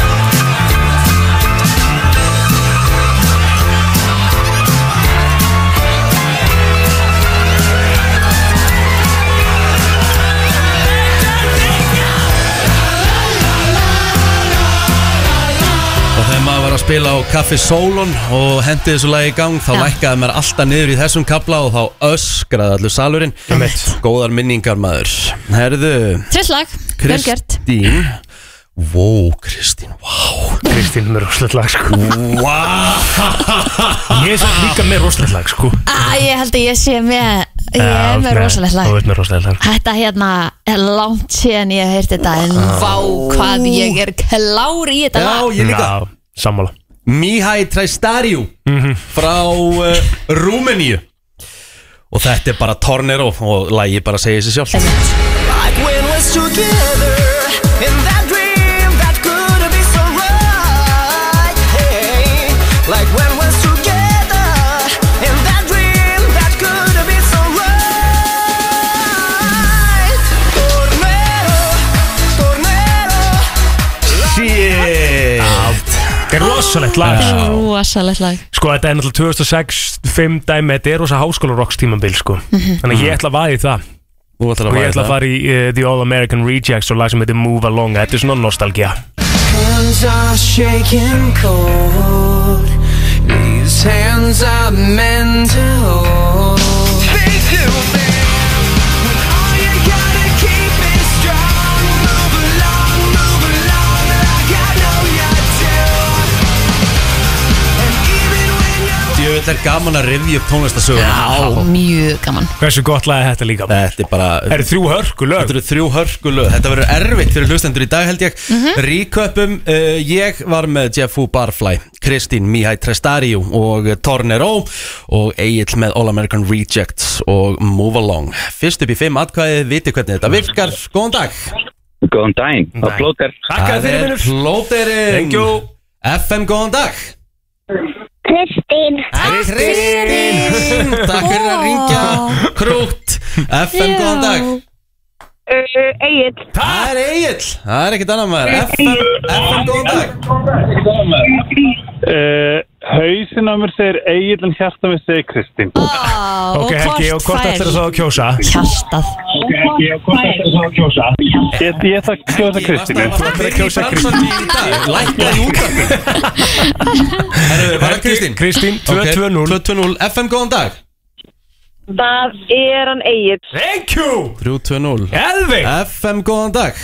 Og þegar maður var að spila á Kaffi Solon og hendi þessu lagi í gang þá Já. lækkaði maður alltaf niður í þessum kapla og þá öskraði allur salurinn Einmitt. Góðar minningar maður Herðu, trillt lag, vel gert Kristín Vó, Kristín, vá Kristín með roslegt lag sko Ég er samt líka með roslegt lag sko Æ, ég held að ég sé með, ég Já, er þú með ert rosalegt Þú lag veist með roslegt lag Þetta hérna er langt síðan ég hef heyrt þetta en vá hvað ég er klár í þetta Ah. Já, Mhm. lag ég líka Já, sammála Mihai Tristariu frá uh, Rúmeníu Og þetta er bara Tornero og lægi bara segja sér sjálf Like when we're together in that dream that could be so right. Hey, like when we're together in that dream that could be so right. Tornero, tornero. Shit Þetta er rosalegt lag sko Rosalegt lag Sko þetta er náttúrulega 2006, 5 dæmi, þetta er rosa háskólarokks tímabil sko Mhm. Þannig að ég ætla að vaða í það Þú ætlar Og að ég ætla fara hérna. í það að fara í uh, The All American Rejects og lag sem heitir Move Along Þetta er svona nostalgia Hands are shaking cold. These hands are meant to hold. Move along, move along like I know you do. And even Djöfull er gaman að rifja upp tónlistasöguna mjög gaman Hversu gott lagði þetta líka Þetta er bara Það eru þrjú hörku Þetta eru þrjú hörkulög Þetta verður erfitt fyrir hlustendur í dag held ég mm uh, Ég var með Jeff U. Barfly Kristín Mihai Trestariu og Tornero og Egil með All American Rejects og Move Along Fyrst upp í fimm atkvæði, viti hvernig þetta virkar Góðan dag Góðan daginn, það Nei. plóter Takk er fyrir minnum plóterinn Thank you. FM, góðan dag Kristín, Hæ, Kristín Takk fyrir að ringja Krútt FM, góðan dag uh, Egil, Það er Egil, það er ekkert annað maður FM, FM, góðan dag uh, Hauðin á mér segir Egil en hjarta mér segir Kristín oh, Ok Helgi og hvort ættir þess að kjósa Hjartað Ég, ég ætla að kjósa Kristín Þú ættir að kjósa Kristín í dag Lækkaði út af Herru, var það Kristín? Kristín Ok, 2-2-0 2-2-0 FM, góðan dag það er hann Egil. Thank you 3-2-0 Elvig FM, góðan dag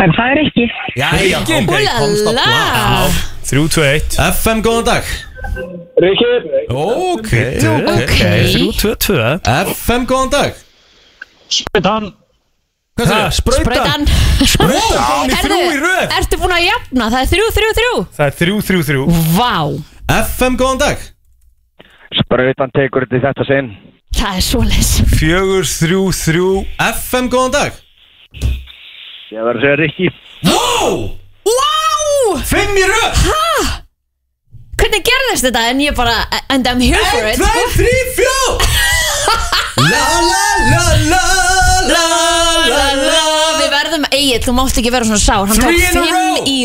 En það er ekki. Jæja, Engin. ok, komst á blað Ah, 3-2-1 FM, góðan dag Rikir Ok, ok Ok 3-2-2 FM, góðan dag Hvað segir Brautan Sprautan Þrjú í Herðu, röð ertu búin að jafna? Það er þrjú, þrjú, þrjú Það er 3-3-3 Vá, FM, góðan dag Sprautan tekur þetta í þetta sinn það er svoleiðs Fjögur, þrjú, þrjú FM, góðan dag Ég verður að segja Rikki Wow Vá, Fimm í röð hvernig gerðist þetta? En ég bara, and I'm here for it Tvei, þrý, fjó La la la la la la la Við verðum Egil, þú mátt ekki vera svona sár Hann Three in a tók row. fimm í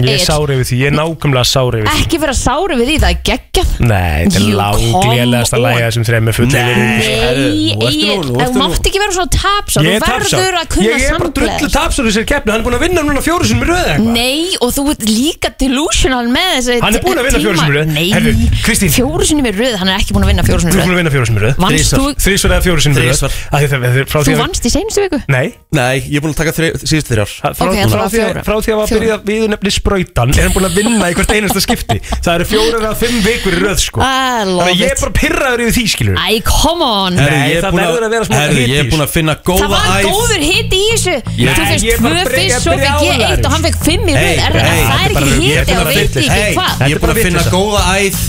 Ég er Egill. sár yfir því Ég er nákvæmlega sár yfir því Ekki vera sáru við því, það er geggjað Nei, þetta er You come langlélegasta on. lægja sem þreim er fullið Nei. Herru, nú Nei, ertu nú, Egil, nú ertu þú nú. mátt ekki vera svona tapsár Ég Þú er tapsár verður að kunna Ég er bara drullu samlega tapsár í sér keppni Hann er búin að vinna núna fjóru sem röð eitthvað Nei, og þú ert líka delusional með þessi Hann er búinn að vinna tíma. fjórum sinnum í röð. Heyrðu, Nei, Kristín. fjóru sinni með röð, hann er ekki búinn að vinna fjóru Þú er sinni með búin röð að vinna fjóru sem röð Vannst þú, Þrísvar eða fjóru sem röð Þrisvar. Af því það- það- frá því þú að- vannst í seinustu viku Nei Nei, ég er búin að taka þri, síðustu þrjár Frá, frá, Ok, það var því að, fjóra. frá því að var að byrja við nefni sprautan er hann búin að vinna í hvert einasta skipti það eru fjórar að fimm vikur í röð sko I Ah, love þannig að ég er it. bara pirraður yfir því skilur Æ, come on Herru, Nei, ég er það búinn verður að vera smá Herru, ég er hiti í búin að finna góða Það var æð. góður hitt í þessu Ég- Þú Ég er fyrst bara að tvö byrja- fyrst, svo byrja fekk ég áður. eitt og hann fekk fimm í Hey, röð Er- hey, er- Það þetta er bara- ekki ég er hitt búinn og að veit finna- ekki Hey, hvað Ég er búin að finna góða æð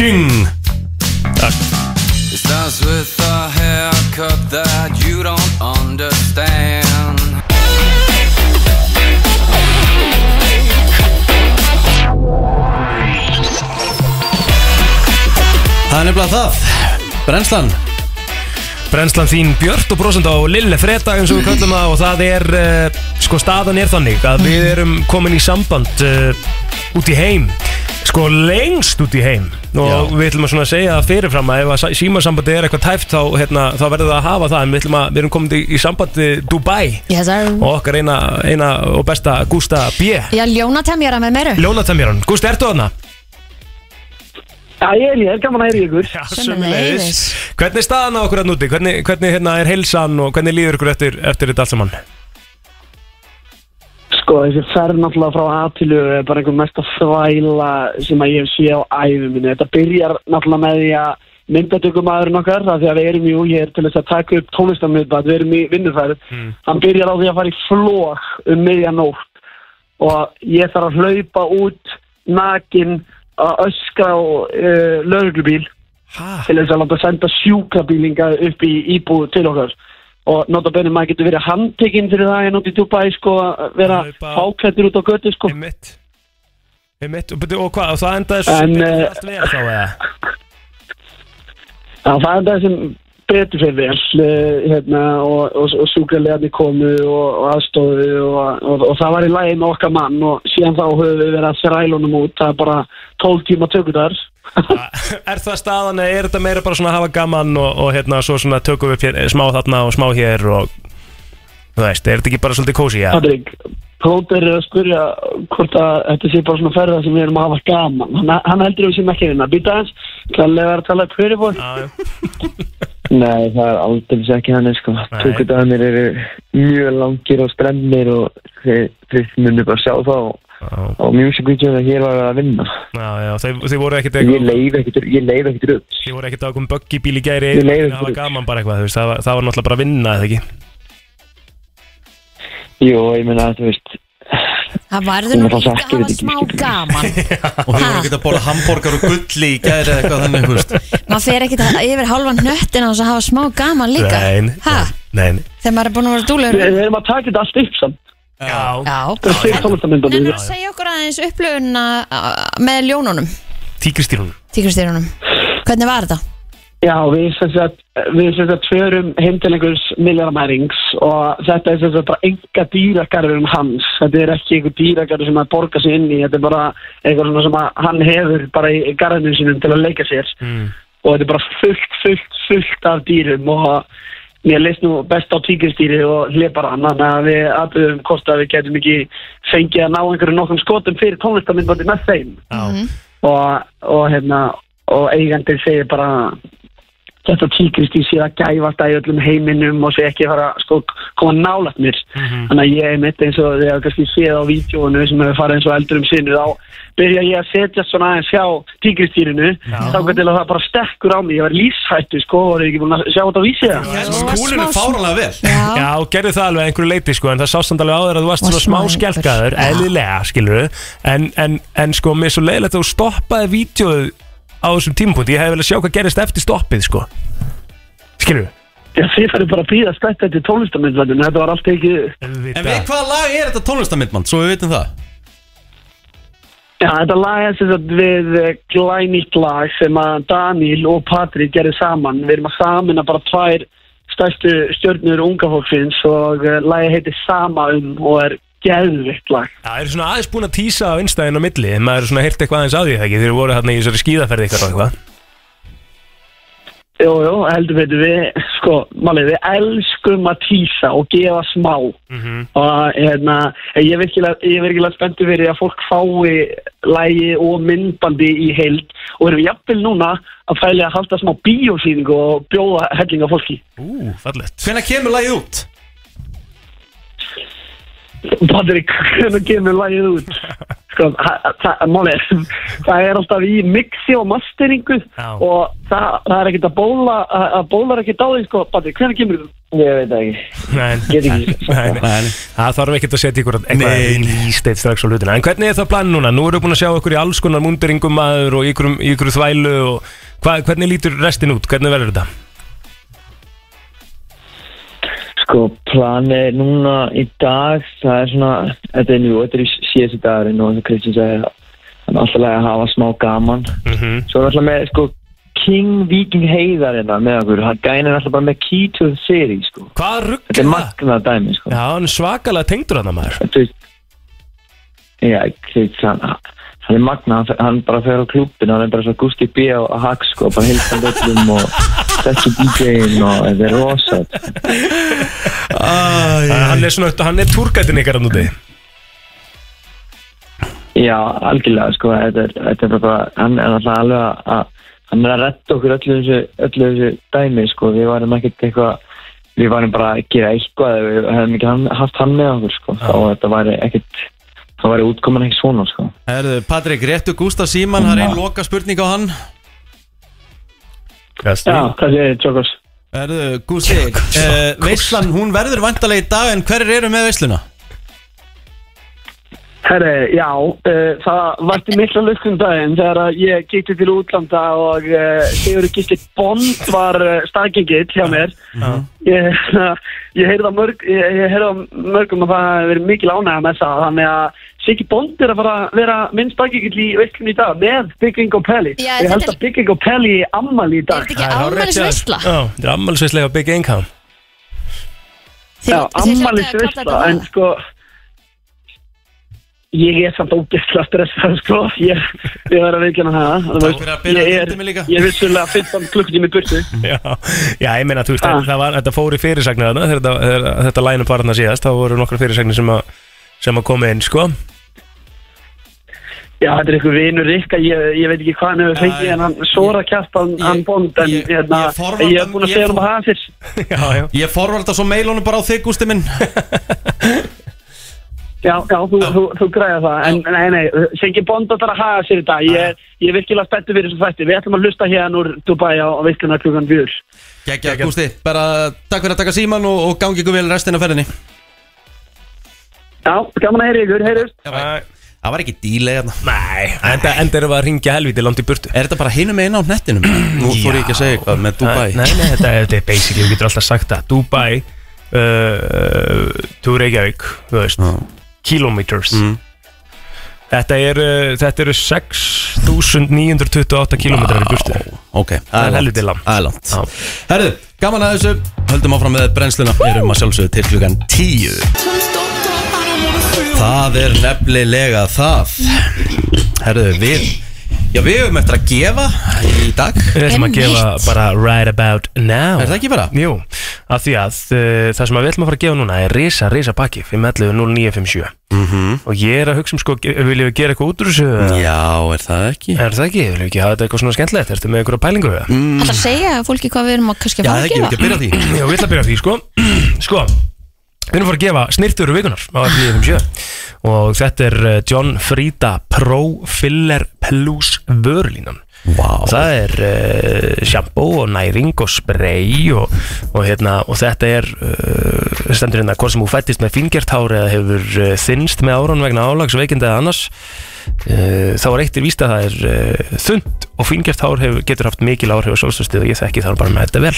Djung It starts with a haircut that you don't understand Það er nefnilega það Brennslan brennslan þín Björt og brosand á Lille Freda eins og við kallum það og það er uh, sko staðan er þannig að við erum komin í samband uh, út í heim sko lengst út í heim og Já. við ætlum að svona segja það fyrirfram að ef að símasambandi er eitthvað tæft þá, hérna, þá verður það að hafa það en við, ætlum að, við erum komin í, í sambandi Dubai Yes, sir. og okkar eina, eina og besta Gústa B Já, ljónatemjara með meiru Ljónatemjaran, Gústi, ertu þarna? Já, ég er, ég er gaman að heyri ykkur Já, Sömuleiðis. sömuleiðis. Hvernig er staðan á okkur að núti? Hvernig, hvernig hérna, er heilsan og hvernig líður ykkur eftir, eftir þetta allt saman? Sko, þessi ferð náttúrulega frá Atilu er bara einhver mesta þvæla sem að ég sé á æfum minni. Þetta byrjar náttúrulega með því að myndatökumæðurinn okkar, af því að við erum jú hér til þess að taka upp tónlistamöðbæð, við erum í vinnufærið, Hmm. hann byrjar á því að fara í flók um miðjanótt og ég þarf að hlaupa út nakin að öskra á uh, lauruglubíl Hæ? til þess að láta senda sjúkrabílinga upp í íbúð til okkar og nota benni maður getur verið handtekinn fyrir það en út í Dubai sko að vera Hlaupa- fáklættur út á götu sko Einmitt Einmitt, og, byrju, og hvað, og það endaði svo En, en, eh, allt vel þá eða? Já, það er það sem betur fyrir vel eh, hérna, og, og, og sjúkralegarnir komu og, og aðstofu og, og, og það var í lagi með okkar mann og síðan þá höfum við verið að þrælunum út það er bara 12 tíma tökudar Er það staðan eða er þetta meira bara svona að hafa gaman og, og hérna svo svona tökum við upp hér, smá þarna og smá hér og þú veist, er þetta ekki bara svolítið kósi ja? Patrik, Plóter er að spyrja hvort að þetta sé bara svona ferða sem við erum að hafa gaman. Hann, hann heldur við sem ekki að vinna. Býta hans, klæðilega er að tala hverju fólk. Nei, það er aldrei ekki hann, sko. Nei. Tökudagarnir eru mjög langir og stremmir og þið, þið munir bara sjá það og og music video þegar ég var að vinna Já, já, þeir, þeir voru ekkert ég leið ekkert, ég leið ekkert upp Þið voru ekkert á okkur böggi bíl í gæri Ég leiði Það var ykkur. gaman bara eitthvað, þú veist, það var, það var náttúrulega bara að vinna eða ekki jú, ég meina, þú veist Það Ég varður nú líka að náttúrulega þekkir hafa þetta smá gaman Og þið voru ekki að borða hambúrgar og gulli í gæri eða eitthvað þannig, þú veist Maður fer ekkert að- yfir halvan nöttin á þess að hafa smá gaman líka Nei, ha, Nei, nei Þegar maður er búin að vera dúlegur Við erum að taka þetta allt upp samt Já Það er sér tónlistamyndandi Nennir að segja okkur aðeins upplöfuna uh, með ljónunum, Tíkristýrunum tíkristýrunum Hvernig var þetta? Já, við sem sagt, við sem sagt förum heim til einhvers millarmærings og þetta er sem sagt bara enga dýragarðurum hans. Þetta er ekki einhver dýragarður sem að borga sig inn í, þetta er bara einhver svona sem að hann hefur bara í garðinu sinum til að leika sér. Og þetta er bara fullt, fullt, fullt af dýrum og mér leist nú best á tíkristýri og hlepar hann, þannig að við aðbyrðum kost að við getum ekki fengið að ná einhverju nokkrum skotum fyrir tónlistamindbandi með þeim. Já. Og, og hérna, og eigandi segir bara þetta tíkrist í sér að gæfast að í öllum heiminum og sé ekki að fara sko, koma nálægt mér þannig að ég er mitt eins og þegar kannski séð á vídjónu sem hefur farið eins og eldur um sinu þá byrja ég að setja svona aðeins hjá tíkristýrinu þá til að það bara stekkur á mig ég var lífshættu sko og er ekki búin að sjá þetta á vísi Skúlinu fáranlega vel Já, já gerði það alveg að einhverju leiti sko En það sást samt alveg á þér að þú varst svona smá skjálkaður Eðlilega, skilur en, en, en sko, mér er svo leiðilegt að þú stoppaði vídeoð á þessum tímapunkti Ég hefði vel að sjá hvað gerist eftir stoppið sko Skilur Já, þið færðu bara að býða spætt eftir tónlistamindvændinu þetta var allt ekki En við hvaða lag er þetta tónlistamindmann, svo við vitum það Já, þetta lag er sem sagt við eh, glænýtt lag sem að Daniel og Patrik gerði saman. Við erum að samina bara tvær stærstu stjörnur unga fólksins og eh, lagið heitir Sama um og er geðvitt lag. Það eru svona aðeins búin að tísa á einstæðin á milli En maður er svona heyrt eitthvað aðeins á því er það ekki Þeir voru hérna í þessari skíðaferði ykkar og eitthvað Jú, jú, heldur betur við, sko, málið, við elskum að tísa og gefa smá og hérna, ég er virkilega, ég er virkilega spenntu fyrir að fólk fái lægi og myndbandi í heild og við erum jafnvel núna að fæli að halda smá bíósýningu og bjóða hellinga fólki. Ú, fallegt Hvenær kemur lagið út? Patrik, hvernig kemur lagið út? Sko, ha- það- máli, er, það er alltaf í mixi og masteringu Já. og það, það er ekkert að bóla, að að bólar ekkert á því, sko, Patrik, hvernig kemur þú? Ég veit það ekki. Nei, Get ekki. nei, nei. Það þarf ekkert að setja ykkur Nei, eitthvað nýsteitt strax á hlutina En hvernig er það plan núna? Nú erum við búin að sjá ykkur í alls konar munduringum maður og ykkur, ykkur þvælu og hva, hvernig lítur restin út? Hvernig verður þetta? Sko, planið er núna í dag, það er svona, þetta er nú, þetta er í síðast dagurinn og eins og Kristján sagði, það er alltaf að hafa smá gaman. Mhm. Svo er alltaf með, sko, King Viking Heiðar hérna með okkur, hann gænir alltaf bara með Key to the City, sko. Hvað rugg? Þetta er magnað dæmi, sko. Já, hann er svakalega tengdur hann að maður Þú veist, já, þú veist, hann, hann er magnað, hann, fer- hann bara fer á klúbin, hann er bara svo Gusti B. og Hax, sko, bara hilsan öllum og þessu DJ-in og þetta er rosat. Hann er, svona- hann er túrgætin ykkar hann úti Já, algjörlega, sko, þetta, er- þetta er bara, bara- hann er alltaf alveg að- að, hann er að retta okkur öllu þessu, öllu þessu dæmi, sko, við varum ekkert eitthvað, við varum bara að gera eitthvað, ef við hefðum ekki hann, haft hann með okkur, sko, þá þetta væri ekkert, þá væri útkoman ekki svona, sko. Herðu, Patrik, réttu Gústa Síman, það er einn loka spurning á hann Já, hvað segir þið, Tjókos? Herðu, Gústi, uh, veislan, hún verður vantarlega í dag en hverjir eru með veisluna? Herri, já, uh, það varti mikla lukkum daginn þegar að ég gíti til útlanda og uh, Sigur Gísli Bond var uh, staðgengill hjá mér. Ég, ég heyrði á mörg, ég, ég heyrði á mörgum að það hefur verið mikil ánægða með það, þannig að Siggi Bond er að fara að vera minn staðgengill í veiklunni í dag með Bygging og Pelli. Já, ég held þetta að Bygging og Pelli er ammali í dag. þetta ekki afmælisveisla? Já, þetta er afmælisveisla á Big Income þið Já, hljótið að kalla ammælisveisla, þetta en það. sko Ég er samt ógeðslega stressað, sko Ég, ég verð að veikjana það Takk fyrir að byrja að Ég er, hrinda mig líka. ég er vissulega 15 klukkutími í burtu Já, já ég meina, þú veist, Ah. það var, þetta fór í fyrirsagnir þarna þegar þetta, þegar þetta lænum barna síðast þá voru nokkra fyrirsagnir sem að, sem að koma inn, sko Já, þetta er einhver vinur Rikka, ég, ég veit ekki hvað hann hefur fengið En hann svora kjast, hann, hann um bónd En ég, ég, forvarða- ég er búin ég að segja for- hann um að hafa fyrst Já, já Ég forvarta svo mailunum bara á þig, Gústi minn Já, já, þú, þú, þú græða það, en nei, nei, Sengi Bond ætlar að haga sér í dag, ég, ég er virkilega spenntur fyrir þessu fætti, við ætlum að hlusta hérna úr Dubai á, á veikluna klukkan fjör. Gægja, Gústi, bara takk fyrir að taka síman og, og gangi ykkur vel restin af ferðinni Já, gaman að heyra ykkur, heyrjus. Það var ekki díla hérna Nei, enda, enda erum við að ringja helviti langt í burtu Er þetta bara hinum einn á nettinum? Nú þór ég ekki að segja eitthvað með Dubai Nei, nei, þetta, þetta er basically, við getur alltaf sagt það Dubai uh, Túr Reykjavík, þú veist Kilometers Mm. Þetta eru þetta eru 6.928 kilometrar í burtu Ok, Það er helviti langt Það er langt Herðu, gaman að þessu Höldum áfram með brennsluna Erum að sjálfsögðu til klukkan 10 Það er nefnilega það Herðu, við Já, við höfum eftir að gefa í dag Við ætlum að gefa bara right about now Er það ekki bara? Jú, af því að uh, það sem að við ætlum að fara að gefa núna er risa, risa pakki 511-0957 Mhm. og ég er að hugsa um sko, ge- viljum við gera eitthvað út úr þessu? Já, er það ekki? Er það ekki? Viljum við ekki hafa þetta eitthvað svona skemmtilegt? Ertu með einhverja pælingu við það? Mm. Það segja fólki hvað við erum að kannski að fara að gefa því Já, við ætlum að byrja á því, sko Sko, við erum að fara að gefa snirtur vikunar á F957 og þetta er eh, John Frida Pro Filler Plus vörlínan Wow. Það er uh, sjambó og næring og spray og, og, hérna, og þetta er uh, stendur hérna hvort sem þú fættist með fingertár eða hefur uh, þinnst með árun vegna álags veikinda eða annars uh, þá er eittir víst að það er uh, þund og fingertár hefur, getur haft mikil áhrif á sjálfstöðstuð og ég þekki þar bara með þetta vel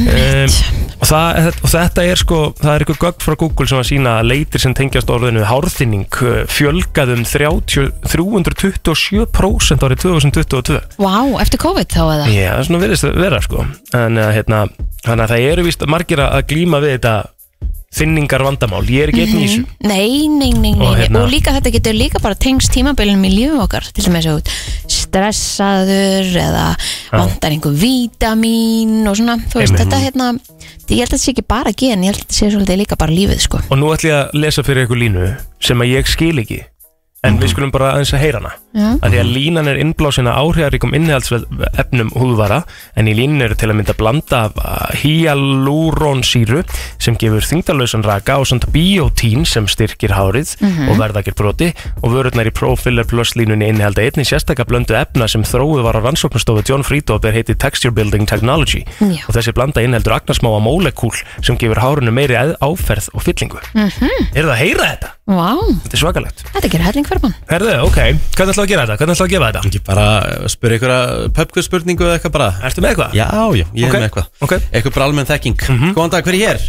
um, og, það, og þetta er sko það er ykkur gögn frá Google sem að sína að leitir sem tengjast orðinu hárþinning eh, fjölgað um 30, 327% árið 2022 Vá, eftir COVID þá eða? Já, það er svona verðist að vera sko en uh, hérna, þannig að það eru víst margir að að glíma við þetta þinningar vandamál, ég er ekki einn í þessu Nei, nei, nei, nei. Og Og, hérna- líka þetta getur líka bara tengst tímabilinum í lífum okkar til sem er svo stressaður eða vantar einhver vítamín og svona, þú veist, Einmitt. þetta hérna ég held að þetta sé ekki bara gen, ég held að þetta sé svolítið líka bara lífið, sko. og nú ætlum ég að lesa fyrir ykkur línu sem að ég skil ekki en við skulum bara aðeins að heyra hana Já. að því að línan er innblásin að áhrifaríkum innihaldsvefnum efnum húðvara en í línan eru til að mynda blanda af uh, hyaluronsýru sem gefur þingdalösan raka og samt biotín sem styrkir hárið Mhm. og verða ekkert broti og vörurnar í Profiller Plus línunni innihalda einnig sérstakka blöndu efna sem þróið var á rannsóknastofu John Friedhoff er heiti Texture Building Technology Já. og þessi blanda innihaldur agnarsmáa mólekúl sem gefur hárinu meiri eð- áferð og fyllingu Mm Er það að heyra þetta? Vá, Þetta er svakalegt þetta gerir helling fyrir mann. Herðu, ok, hvernig ætlaðu að gera þetta? Hvernig ætlaðu að gefa þetta? Ekki bara uh, spyrja ykkur að pubquiz spurningu eða eitthvað bara Ertu með eitthvað? Já, já, ég er Ok, með eitthvað okay. Eitthvað bara almenn þekking Góðan dag, hver er hér?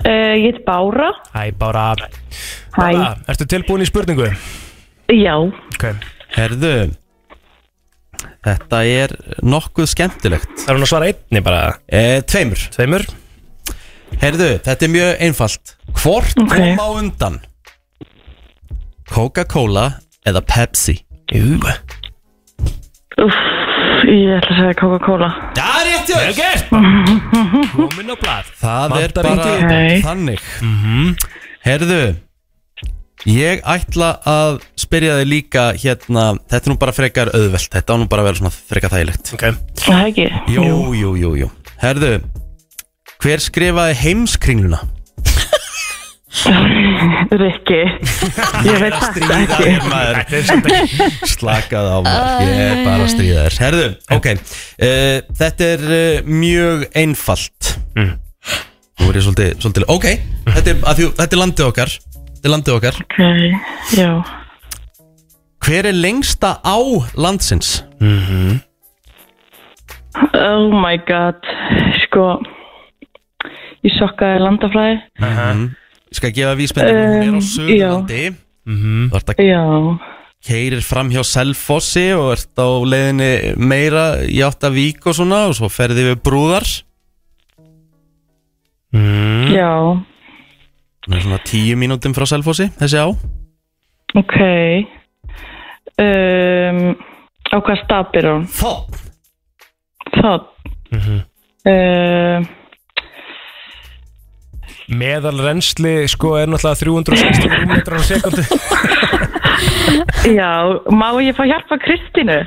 Uh, ég heit Bára. Hæ, Bára Hæ. Bára, ertu tilbúin í spurningu? Já. Ok Herðu Þetta er nokkuð skemmtilegt Það er hún að svara einni bara e, Tveimur Tveimur Herðu, þetta er mjög einfalt Hvort Ok. kom á undan? Coca-Cola eða Pepsi? Jú Uff, ég ætla að segja Coca-Cola. Já, rétt Vel gert Komin á blad Það er Vantar bara ekki Nei. þannig Mhm. Herðu Ég ætla að spyrja þig líka hérna, þetta er nú bara frekar auðvelt þetta á nú bara að vera svona frekar þægilegt okay. Það er ekki. Jú, jú, jú, jú Herðu, hver skrifaði heimskringluna? Rikki. Ég veit það ekki. Stríðaðir maður Slakað á maður, ég er bara stríðaðir Herðu, ok uh, Þetta er uh, mjög einfalt Mm. Nú er ég svolítið, svolítið Ok, þetta er, að því, þetta er landið okkar Þetta er landið okkar Ok, já. Hver er lengsta á landsins? mm -hmm. Oh my god. Sko, ég sokkaði landafræði. Mhm. Ég skal gefa vísbendinu Hún er á Um, Suðurlandi Þú ert að Já. keirir fram hjá Selfossi og ert á leiðinni meira í Áttavík og svona og svo ferði við brúðar mm. Já. Hún er svona tíu mínútum frá Selfossi, þessi á Ok. Um, á hvað stapir hún? Þótt. Þótt. Mhm. Um, Meðal reynsli sko er náttúrulega 360 rúmmetrar á sekundu já, má ég fá hjálpa Kristínu?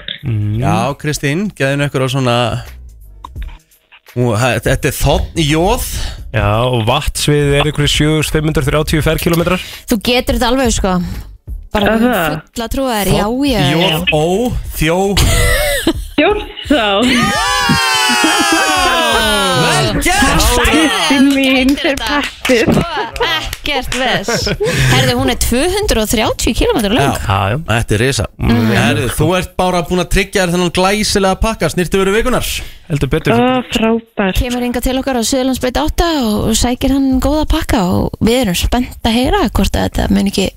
Já, Kristín, geðinu ykkur á svona Og það- Þetta er þotn í jóð Já, og vatnsviðið er ykkur 7530 ferkilometrar Þú getur þetta alveg sko Bara Aha. uh, fulla trúa þér, já, já, já Jóð, ó, þjó Þjórnsá Vel gert Kristín mín fyrir pakkir Ekkert vess Herðu, hún er 230 km lang já, þetta er risa Mm. Herðu, Þú ert bara búin að tryggja þér þennan glæsilega pakka Snýrtu verið vikunar Heldur frábær Kemur yngar til okkar á Suðlandsbreyt 8 og sækir hann góða pakka og við erum spennt að heyra hvort að þetta mun ekki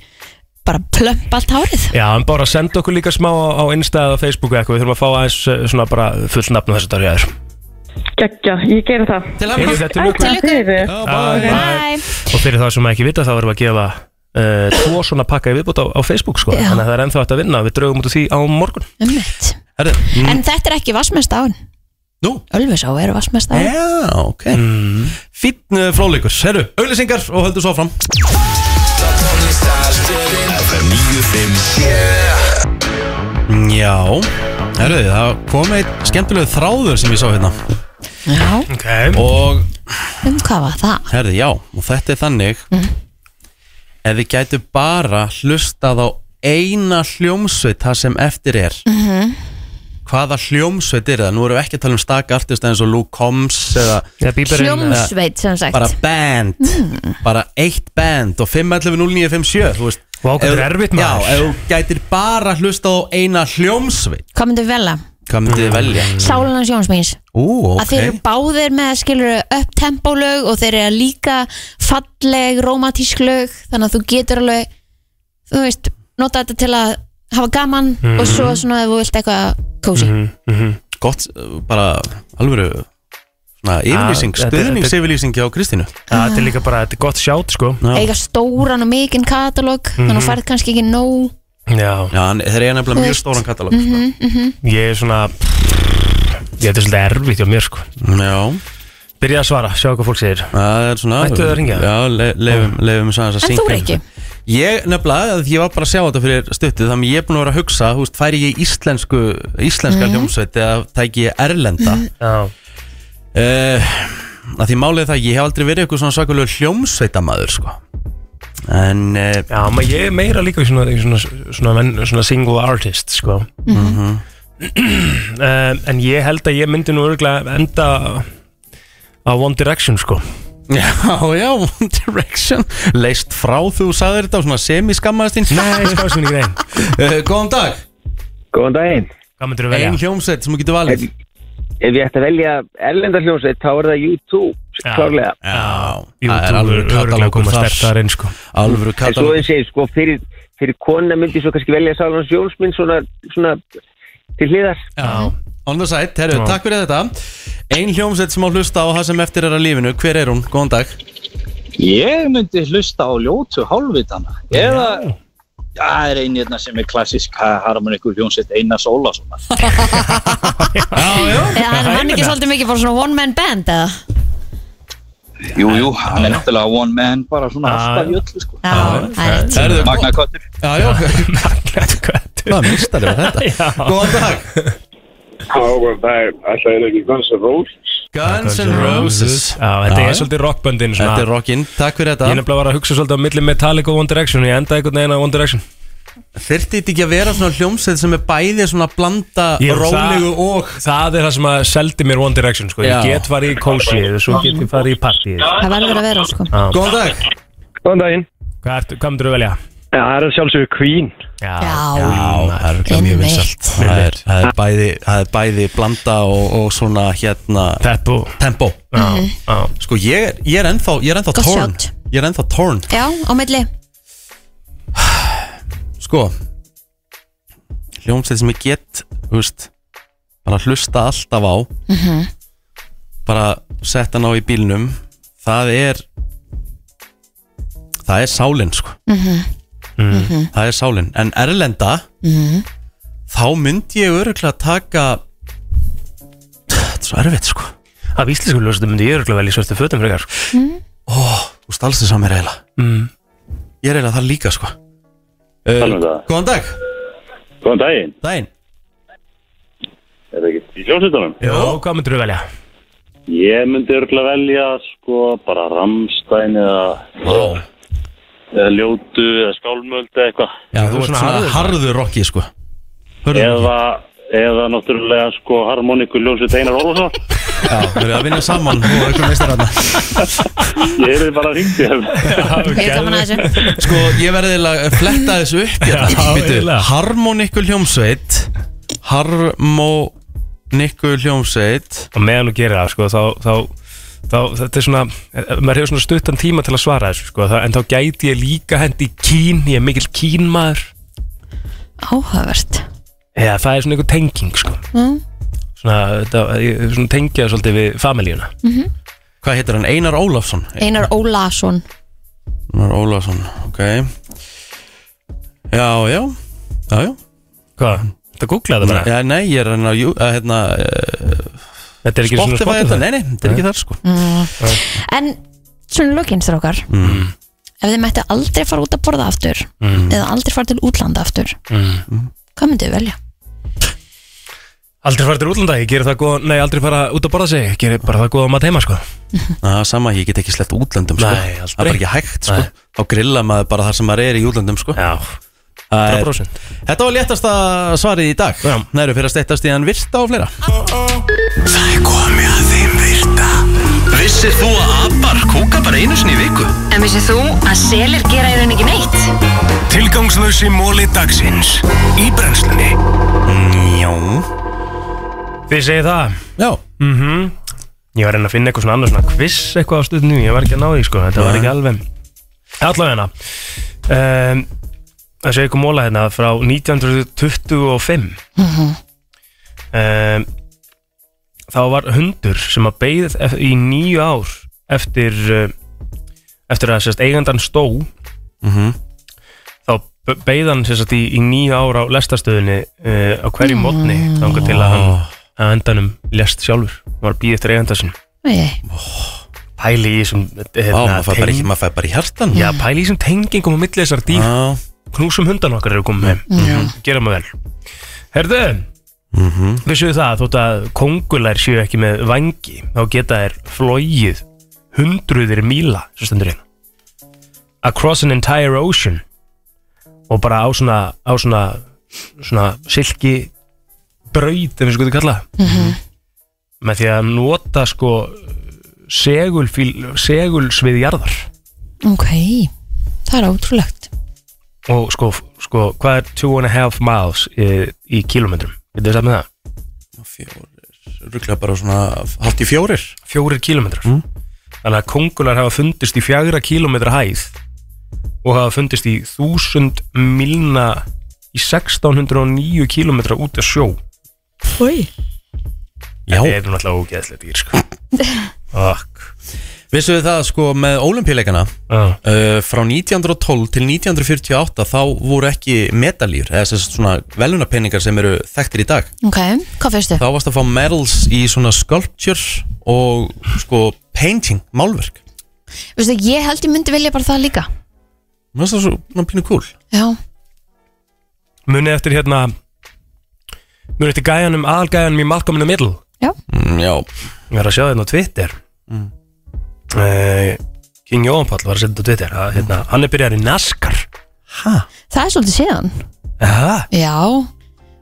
bara plömpa allt hárið Já, en bara senda okkur líka smá á, á Insta eða Facebook eða eitthvað Við þurfum að fá aðeins eh, svona bara full nafn á þessu dag hér Gekkja, ég gera það Til hamingju. Heyrðu, þetta er lukku. Takk fyrir bye. Bye. Og fyrir það sem ekki vita þá erum við að gefa Uh, tvo svona pakka í viðbútt á, á Facebook sko. Já. þannig að það er ennþá hægt að vinna við draugum út úr því á morgun Einmitt. Herri, En þetta er ekki vassmest án mm. Nú? Eh? Ölfisá er vassmest án Já, ok mm. Fýtn fróleikur, herru, auðlýsingar og höldu svo fram FM 957 Já, herru, það kom eitt skemmtilegu þráður sem ég sá hérna Já, okay. Og, um hvað var það? herru, já, og þetta er þannig Ef þið gætu bara hlustað á eina hljómsveit það sem eftir er Mm -hmm. Hvaða hljómsveit er það? Nú erum við ekki að tala um stak artist eins og Luke Combs eða ja, eh, Hljómsveit sem sagt bara band bara eitt band og 5.11.09.57 þú veist Vá, hvað þetta er Ef- erfitt, maður. já, ef þú gætir bara hlusta á eina hljómsveit Hvað myndum við velja? hvað myndið þið velja? Sálanans Jónsmins ú, að þeir eru ok báðir með skilur upptempólög og þeir eru líka falleg, romantísk lög þannig að þú getur alveg þú veist, nota þetta til að hafa gaman Mhm. og svo svona ef þú vilt eitthvað kósi Mhm, mhm. gott, uh, bara alvöru svona yfirlýsing, Ah, þetta- stuðningsyfirlýsing hjá Kristínu þetta er líka bara, þetta er gott sjátt sko eiga stóran og mikinn katalóg þannig að þú Mhm. færð kannski ekki nóg Já, já en þeir eru Þú nefnilega mjög veist. stóran katalóg mm -hmm, Ég er svona Ég þetta er svolítið erfitt hjá mér sko Já Byrja að svara, sjá hvað fólk segir Það er svona Ættu þau að hringja? Ah. Já, le, leifum, leifum svo aðeins að En syngja um þú, Riki? Ég nefnilega, að ég var bara að sjá þetta fyrir stuttið Þannig ég er búin að vera að hugsa, þú veist, færi ég í íslensku Íslenska Mhm. hljómsveit eða tæki ég erlenda Mhm. Já uh, að Því málið er það, ég hef aldrei verið eitthvað svona svakalegu hljómsveitamæður, sko En uh, Já, maður ég er meira líka í svona, í svona, svona, menn- svona single artist sko Mhm. um, En ég held að ég myndi nú örgulega enda á One Direction sko Já, já, One Direction Leist frá þú sagðir þetta og svona semiskammaðist þín Nei, ég skammaðist mín ekki reyn uh, Góðan dag Góðan daginn Hvað myndir velja? Ein hljómsveit sem þú getur valið Ef ég ætti að velja erlendar hljómsveit þá er það YouTube klárlega Já, það er YouTube alveg er örgulega katalógur koma þar. stertar inn sko Alvöru En svo katalóg þið segir sko fyrir, fyrir konuna myndi ég svo kannski velja Sálan Jónsminn svona, svona til hliðar Já On the side, herru, Já. takk fyrir þetta Ein hljómsveit sem á hlusta á það sem eftir er að lífinu Hver er hún? Góðan dag Ég myndi hlusta á ljótu hálfvitana eða Já, það er einn hérna sem er klassísk harmonikur hljónsett Einar Sólasson eða hann hann ekki svolítið mikið bara svona one man band eða Jú, jú, hann er náttúrulega one man bara svona alltaf í öllu sko Herðu, Magna Köttur Já, já Hvað mistar er þetta? Góðan dag Já, góðan dag. Alltaf er ekki Guns N' Roses. Guns N' Roses Já, þetta Já, er já. svolítið rockböndin Þetta er rockinn, takk fyrir þetta Ég er nefnilega var að hugsa svolítið á milli Metallica og One Direction Ég endaði einhvern veginn á One Direction Þyrfti þetta ekki að vera svona hljómsveit sem er bæði svona að blanda rólegu það, og Það er það sem að seldi mér One Direction sko. Ég Já. get farið í kósið og svo get ég farið í partíið það verður að vera sko Góðan dag Góðan daginn Hvað, ertu- hvað myndir þú velja? Já, það er að sjálfsögur Queen Já, Já, það er örugglega mjög vinsalt Það er- það er bæði, það er bæði blanda og, og svona hérna Tempo Tempo Já, já. Sko ég er, ég er ennþá, ég er ennþá Gott torn sjátt. Ég er ennþá torn já, á milli sko hljómsveit sem ég get þú veist, bara hlusta alltaf á Mhm. bara setta hann á í bílnum það er það er sálin sko Mhm. Mhm. það er sálin en erlenda Mhm. þá myndi ég öruglega taka þetta er svo erfitt sko Af íslensku ljósum myndi ég öruglega velja svörstu fötum frekar mm. ó, þú stálst þess að mér eiginlega mm. ég er eiginlega það líka sko uh, góðan dag Góðan daginn. daginn Er það ekki í hljómsveitunum? Jó, hvað myndir þú velja? Ég myndi örgulega velja sko bara Ramstein eða wow. eða Ljótu eða Skálmöld eða eitthvað Já, þú ert svona harður rocki sko eða, eða náttúrulega sko harmoníku ljónsveit Einar Orvarsson Já, við erum að vinna saman og eitthvað meistar hann Ég er bara hringt í þeim Ég er gaman að þessu Sko, ég verði eiginlega að fletta þessu upp Já, hérna eiginlega. Harmonikul hljómsveit Harmonikul hljómsveit Og meðan þú gerir það sko, þá, þá, þá þetta er svona maður hefur svona stuttan tíma til að svara þessu sko, það, en þá gæti ég líka hendi í kín ég er mikill kínmaður Áhugavert eða það er svona einhver tenging sko. mm. svona, þetta, ég, svona tengja það svolítið við familíuna Mhm. Hvað heitir hann? Einar Ólafsson Einar Ólason Einar Ólafsson, ok Já, já Já, já Hvað? Það googlaði það Já, nei, ég er hann á jú- að, hérna uh, Þetta er ekki svona Spotify Spotify? þetta, nei, nei, þetta er ekki þar sko mm. En svona lokinstrákar mm. Ef þið mættu aldrei fara út að borða aftur Mm. Eða aldrei fara til útlanda aftur mm. Hvað myndu þið velja? Aldrei fara til útlanda, ég gerir það góð Nei, aldrei fara út að borða sig, ég gerir bara það góð að maður heima sko. Já, sama, ég get ekki sleppt útlöndum sko. Nei, aldrei. Það er bara ekki hægt sko. Þá grilla maður bara þar sem maður er í útlöndum sko. Já, 100%. Þetta var léttasta svarið í dag Það eru fyrir að steyttast í hann virta og fleira Það er komið að þeim virta Vissir þú að abar kúka bara einu sinni í viku? En vissið þú að selir gera í raun ekki neitt? Tilgangslösi móli dagsins Í brennslunni Jó Þið segið það? Já Ég var að reyna að finna eitthvað svona annars svona quiz eitthvað á stundinu Ég var ekki að ná því sko, þetta var Nei. ekki alveg Allavega hérna um, Það segir ykkur móla hérna frá 1925 um, Þá var hundur sem að beið ef- í nýju ár eftir, uh, eftir að sérst, eigandan stó Mhm. Þá be- beið hann sérst, í, í nýju ár á lestastöðinni uh, á hverju mótni Mm. Þangar til að hann að endanum lest sjálfur Var að býð eftir eiganda sinni Nei, pæli í þessum hérna, maður fær bara í- maður fær bara í hjartan já, pæli í þessum tengingum á milli þessar dýr ah. knúsum hundan okkar eru komið heim Mhm. gera mig vel herðu, mm -hmm. vissu það þótt að kongulær séu ekki með vangi þá geta þær flóið hundruðir míla svo stendur einu across an entire ocean og bara á svona á svona, svona silki braut, ef við skoðum kalla það með því að nota sko segulfíl, segulsvið jarðar ok Það er ótrúlegt og sko, sko hvað er two and a half miles í, í kilometrum, veitum við saman það? Rugglega bara svona halvt í fjórir Fjórir kilometrar Þannig að kongular hafa fundist í fjagra kilometra hæð og hafa fundist í þúsund milna í 1609 kilometra út af sjó Új. Já. Þetta er náttúrulega ógeðslega dýr sko Akk Vissuðu það sko með ólimpíuleikana uh, frá 1912 til 1948 þá voru ekki medaljur eða sem sagt svona velunapenningar sem eru þekktir í dag Ok, hvað fyrstu? þá varst að fá medals í svona sculpture og sko painting, málverk Vistu, ég held ég myndi vilja bara það líka Mér finnst það svona pínu cool Já, Munið eftir hérna Munið eftir gæjanum, aðalgæjanum í Malcolm in the Middle Já. mm, Já Ég var að sjá þetta á Twitter Mm. Eh, King Jóhann Páll var að setja þetta á Twitter að, hérna, Hann er byrjar í NASCAR það er svolítið síðan Aha. Já,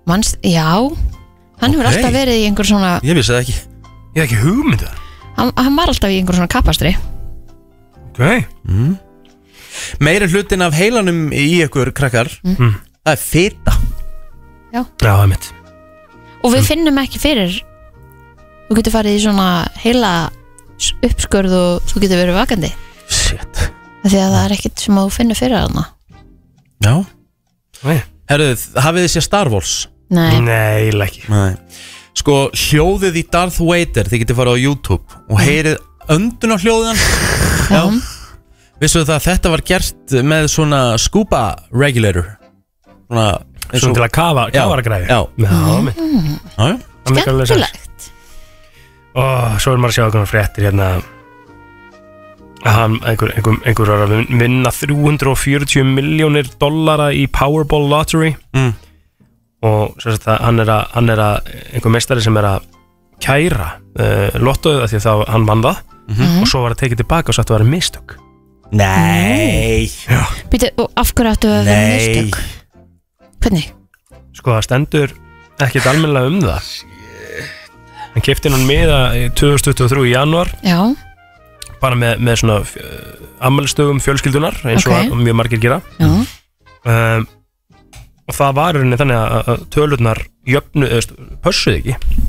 manns, já Hann hefur Ok. alltaf verið í einhver svona Ég vissi það ekki Ég hef ekki um hugmyndu hann, hann var alltaf í einhver svona kappastri okay. mm. Meiri hlutin af heilanum í ykkur krakkar Mm. það er fita Já. Já, einmitt Og Mm. við finnum ekki fyrir Þú getur farið í svona heila s- uppskörð og þú getur verið vakandi Shit Af Því að það er ekkert sem þú finnur fyrir þarna Já Nei. Herruð, hafið þið séð Star Wars? Nei. Nei, eiginlega ekki Nei. Sko, hljóðið í Darth Vader þið getið farið á YouTube og heyrið öndun á hljóðan Mm. Já Vissuðu það að þetta var gert með svona scuba regulator Svona, eins Svona og- til að kafa, Já, kafara græði Já, Já, einmitt mm. já, já. Það meikar alveg sens. Og svo er maður að sjá einhvern fréttir hérna að hann, einhver, einhver, einhver var að vin- vinna 340 miljónir dollara í Powerball Lottery mm. og svo að hann er að, hann er að einhver meistari sem er að kæra uh, lottoðið af því að það, hann vann það og svo var það tekið tilbaka og sagt að það var mistök Nei. Já, Býtu, og af hverju áttu að vera mistök? Hvernig? Sko það stendur ekkert almennilega um það Hann kefti hann miða í 2023 í janúar Já, bara með, með svona uh, ammælstögum fjölskyldunar eins og Ok. að- mjög margir gera já, um, og það var í rauninni þannig að- að tölurnar jöfnu, eða, st- pössuðu ekki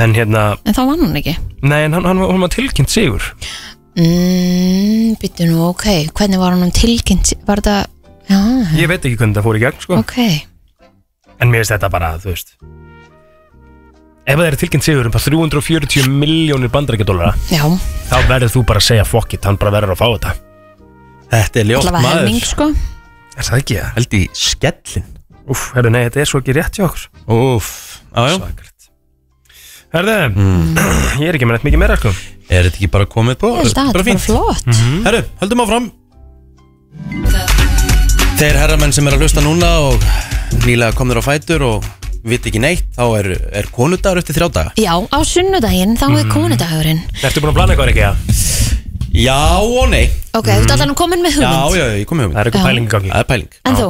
en hérna en þá vann hún ekki nei, en hann, hann, var- hún var tilkynnt sigur mm, Býtu nú, ok, hvernig var hún tilkynnt? Var það, já, ég veit ekki hvernig það fór í gegn sko. ok en mér finnst þetta bara, þú veist ef það er tilkynnt sigur um bara 340 miljónir bandarækjadólara Já, þá verður þú bara að segja fuck it, hann bara verður að fá þetta Þetta er allavega helming sko Er það ekki það? Held í skellin Úf, herru, nei, þetta er svo ekki rétt hjá okkur Úf, aðjó Svakart Herðu, ég er ekki með nætt mikið meira sko Er þetta ekki bara Mhm. komið på? Ég held að þetta er bara flott Herru, höldum áfram Þeir herramenn sem er að hlusta núna og nýlega komnir á fætur og vit ekki neitt, þá er, er konudagur eftir þrjá daga Já, á sunnudaginn, þá er Mm. konudagurinn Ertu búin að plana eitthvað ekki það? Já og nei Ok, þú ert allan komin með hugmynd Já, já, ég kom með hugmynd Það er einhver Já. pæling í gangi Það er pæling En þú,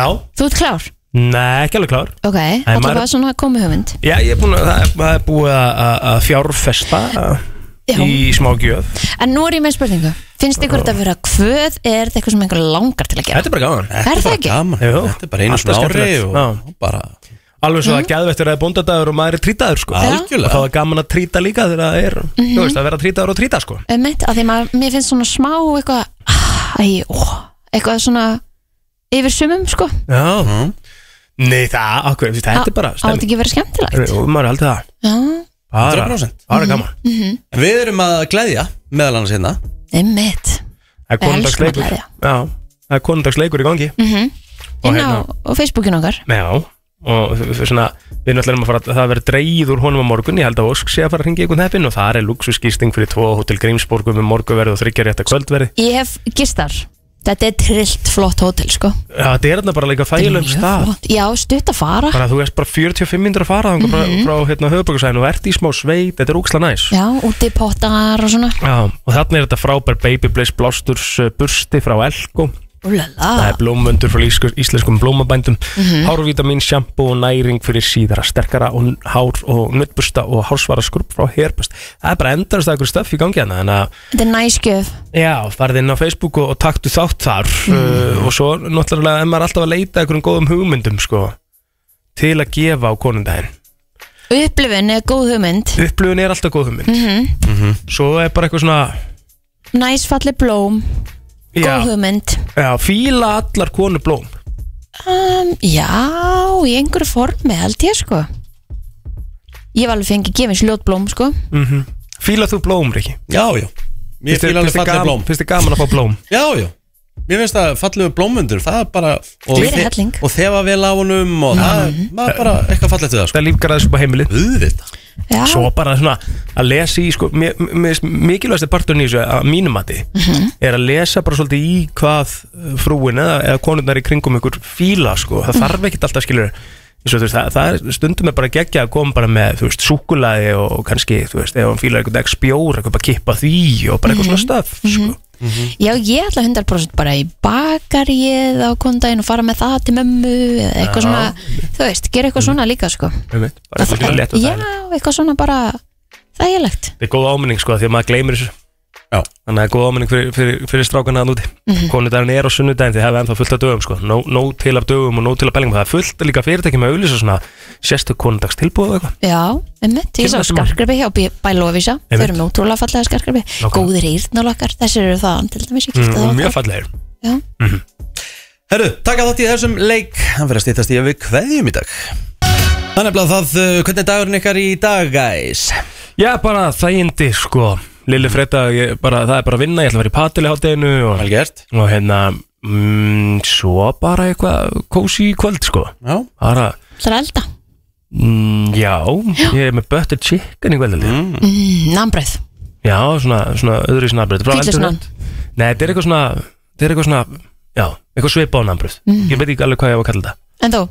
Já þú ert klár Nei, ekki alveg klár Ok, maður- allavega svona komið hugmynd Já, ég er búin að, það er, það er búið að- að að fjárfesta Já. Í smá gjöf En nú er ég með spurningu Finnst ykkur þetta að vera kvöð er þetta eitthvað sem einhver langar til að gera? Þetta er bara gaman Þetta er bara ekki? gaman Jú, Þetta er bara einu alltaf svona ári skemmtilegt. og- Já. bara Alveg svo að Mhm. geðvegt er að það er bóndadagur og maður er trítaður sko Algjörlega. Og þá er gaman að tríta líka þegar það er Mhm. Þú veist, að vera trítaður og tríta sko Ömmit, að Um því maður, mér finnst svona smá eitthvað "Ah, Æ, ó, eitthvað svona yfir sumum sko Já Nei, það, okkur, þetta er bara Á- Á þetta ekki að vera skemmtilegt Og maður er aldrei það Já, Bara, 100%. bara gaman mm -hmm. En Við erum að gleðja meðal annars hérna Ömmit Það er Við elskum konundagsleikur að Já, það er konundagsleikur í gangi mm -hmm. Og Inn á, hérna- á Facebookin okkar Já, og f- f- svona Við náttúrulega erum að fara, það verður dreigð úr honum á morgun Ég held að Ósk sé að fara að ringa einhvern heppin Og það er luxuskýsting fyrir tvo á Hotel Grímsborgu Með morguverð og þryggjar rétt að kvöldverði Ég hef gistar Þetta er trillt flott hótel sko Já, þetta er þarna bara líka þægilegum stað Flott. Já, stutt að fara Bara þú ert bara 45 minnur að fara þangað frá, frá hérna, höfubökkusæðinu og ert í smá sveit, þetta er úksla næs Já, úti pottar og svona Já, og þarna er þetta frábær Baby Blaze Blasters uh, bursti frá Elko Það Úlala er blómvöndur frá íslensku- íslenskum blómabændum Ah. Mhm. Hárvítamin, sjampo og næring fyrir síðara sterkara og hár og nuttbusta og hársvara skrúpp frá herbust Það er bara endarast að ykkur stöf í gangi hana Þannig að Þetta er næskjöf já, farið inn á Facebook og, og taktu þátt þar uh, og svo náttúrulega er maður alltaf að leita að einhverjum góðum hugmyndum sko til að gefa á konundaginn Upplifin er góð hugmynd Upplifun er alltaf góð hugmynd mm Mhm. Svo er bara eitthvað svona Næs falli blóm já, Góð hugmynd já, fíla allar konu blóm um, Já, í einhverju formi held ég sko Ég var alveg fengið gefins ljótblóm sko mm Fíla þú blóm, Riki? Já, já Mér Finnst þér- fíla alveg finnst þér falleg gaman- blóm. Finnst þið gaman að fá blóm? Já, já Mér finnst það fallegu blómundur Það er bara Og, Meiri helling. og þefa vel á honum Og það er maður bara eitthvað fallegt við það sko. Það er lífgarðis upp á heimilið Auðvitað Já. Svo bara svona að lesa í sko, mér- mér finnst Mikilvægasti parturinn í þessu að mínum mati Er að lesa bara svolítið í hvað uh, Frúin eða, eða konurnar í kringum ykkur Fíla sko, það þarf ekkert alltaf skilur Svo, veist, það, það er stundum er bara geggja að koma bara með, þú veist, súkulaði og kannski, þú veist, ef hann fílar einhvern ekki spjór eitthvað bara kippa því og bara eitthvað svona stöf sko. Já, ég ætla 100% bara í bakaríið á kondaginn og fara með það til mömmu eða eitthvað Já. svona, þú veist, gera eitthvað svona líka sko. mm -hmm. bara eitthvað létt og Já, það eitthvað svona bara þægilegt. Þetta er góð áminning sko, því að maður gleymir þessu Já. Þannig að það er góð áminning fyrir, fyrir, fyrir strákana að núti mm Mhm. Konudagurinn er á sunnudaginn því það er ennþá fullt af dögum sko Nó, nóg til af dögum og nóg til af pælingum Það er fullt líka fyrirtæki með auðlýsa svona Sérstu konudags tilbúið eitthvað Já, einmitt, ég Kemur sá það sem að- skarkrabbi hjá Bí- Bælófísa, þau Einmitt. eru með útrúlega fallega skarkrabbi, Nákvæmlega. góðir írnalokkar, þessir eru það, til dæmis ég kipta mm, það Mjög fallegir Já. Herru, taka þátt í þessum leik Hann fyrir að stýttast í að við kveðjum í dag Það er nefnilega það uh, Hvernig er dagurinn ykkar í dag, guys? Já, bara þægindi sko Lilli Freyta, ég bara, það er bara að vinna Ég ætla að vera í patil í hátteginu og, og hérna, mm, svo bara eitthvað kósi í kvöld sko Já Bara, Það er elda, mm, já, ég er með butter chicken í kvöld mm. mm, nambreið, Já, svona, svona öðru í snarbröð Fyllisnan. Nei, þetta er eitthvað svona Þetta er eitthvað svona Já, eitthvað svipa á nambröð Mm. Ég veit ekki alveg hvað ég á að kalla þetta en þú?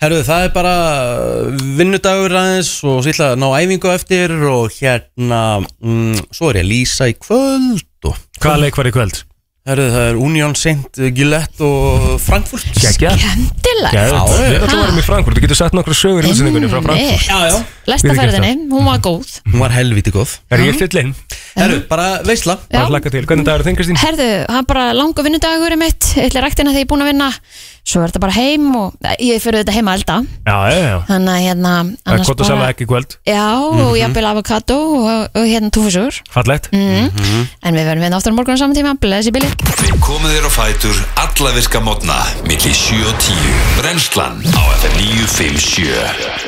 Herðu, það er bara uh, vinnudagur aðeins og svo ætla að ná æfingu á eftir og hérna, mm, svo er ég að lýsa í kvöld og... Hvaða leik var í kvöld? Herðu, það er Union Saint Gillette og Frankfurt Kjækja Skemmtilegt. Við erum alltaf varum um í Frankfurt, þú getur sett nokkra sögur í útsendingunni frá Einmitt. Frankfurt Lesta Mm, ferðinni, hún var góð Hún var helviti góð Er ég fyll inn? Herru, bara veisla Bara hlaka til, hvernig dagur er þinn Kristín? Herðu, það er bara langu vinnudagur í mitt Ítli ræktina þegar ég er búin að vinna Svo er þetta bara heim og eh, ég fyrir þetta heima að elda Já, já, já Þannig að hérna Það er annars gott að selja ekki í kvöld Já, og Mhm. jafnvel avokado og, og hérna túfisur Fallegt mm. Mhm. En við verðum hérna aftur á morgun á saman tíma Blessi bíli Við komum þér á fætur alla virka mótna milli 7 og 10 Brennslan á FM 957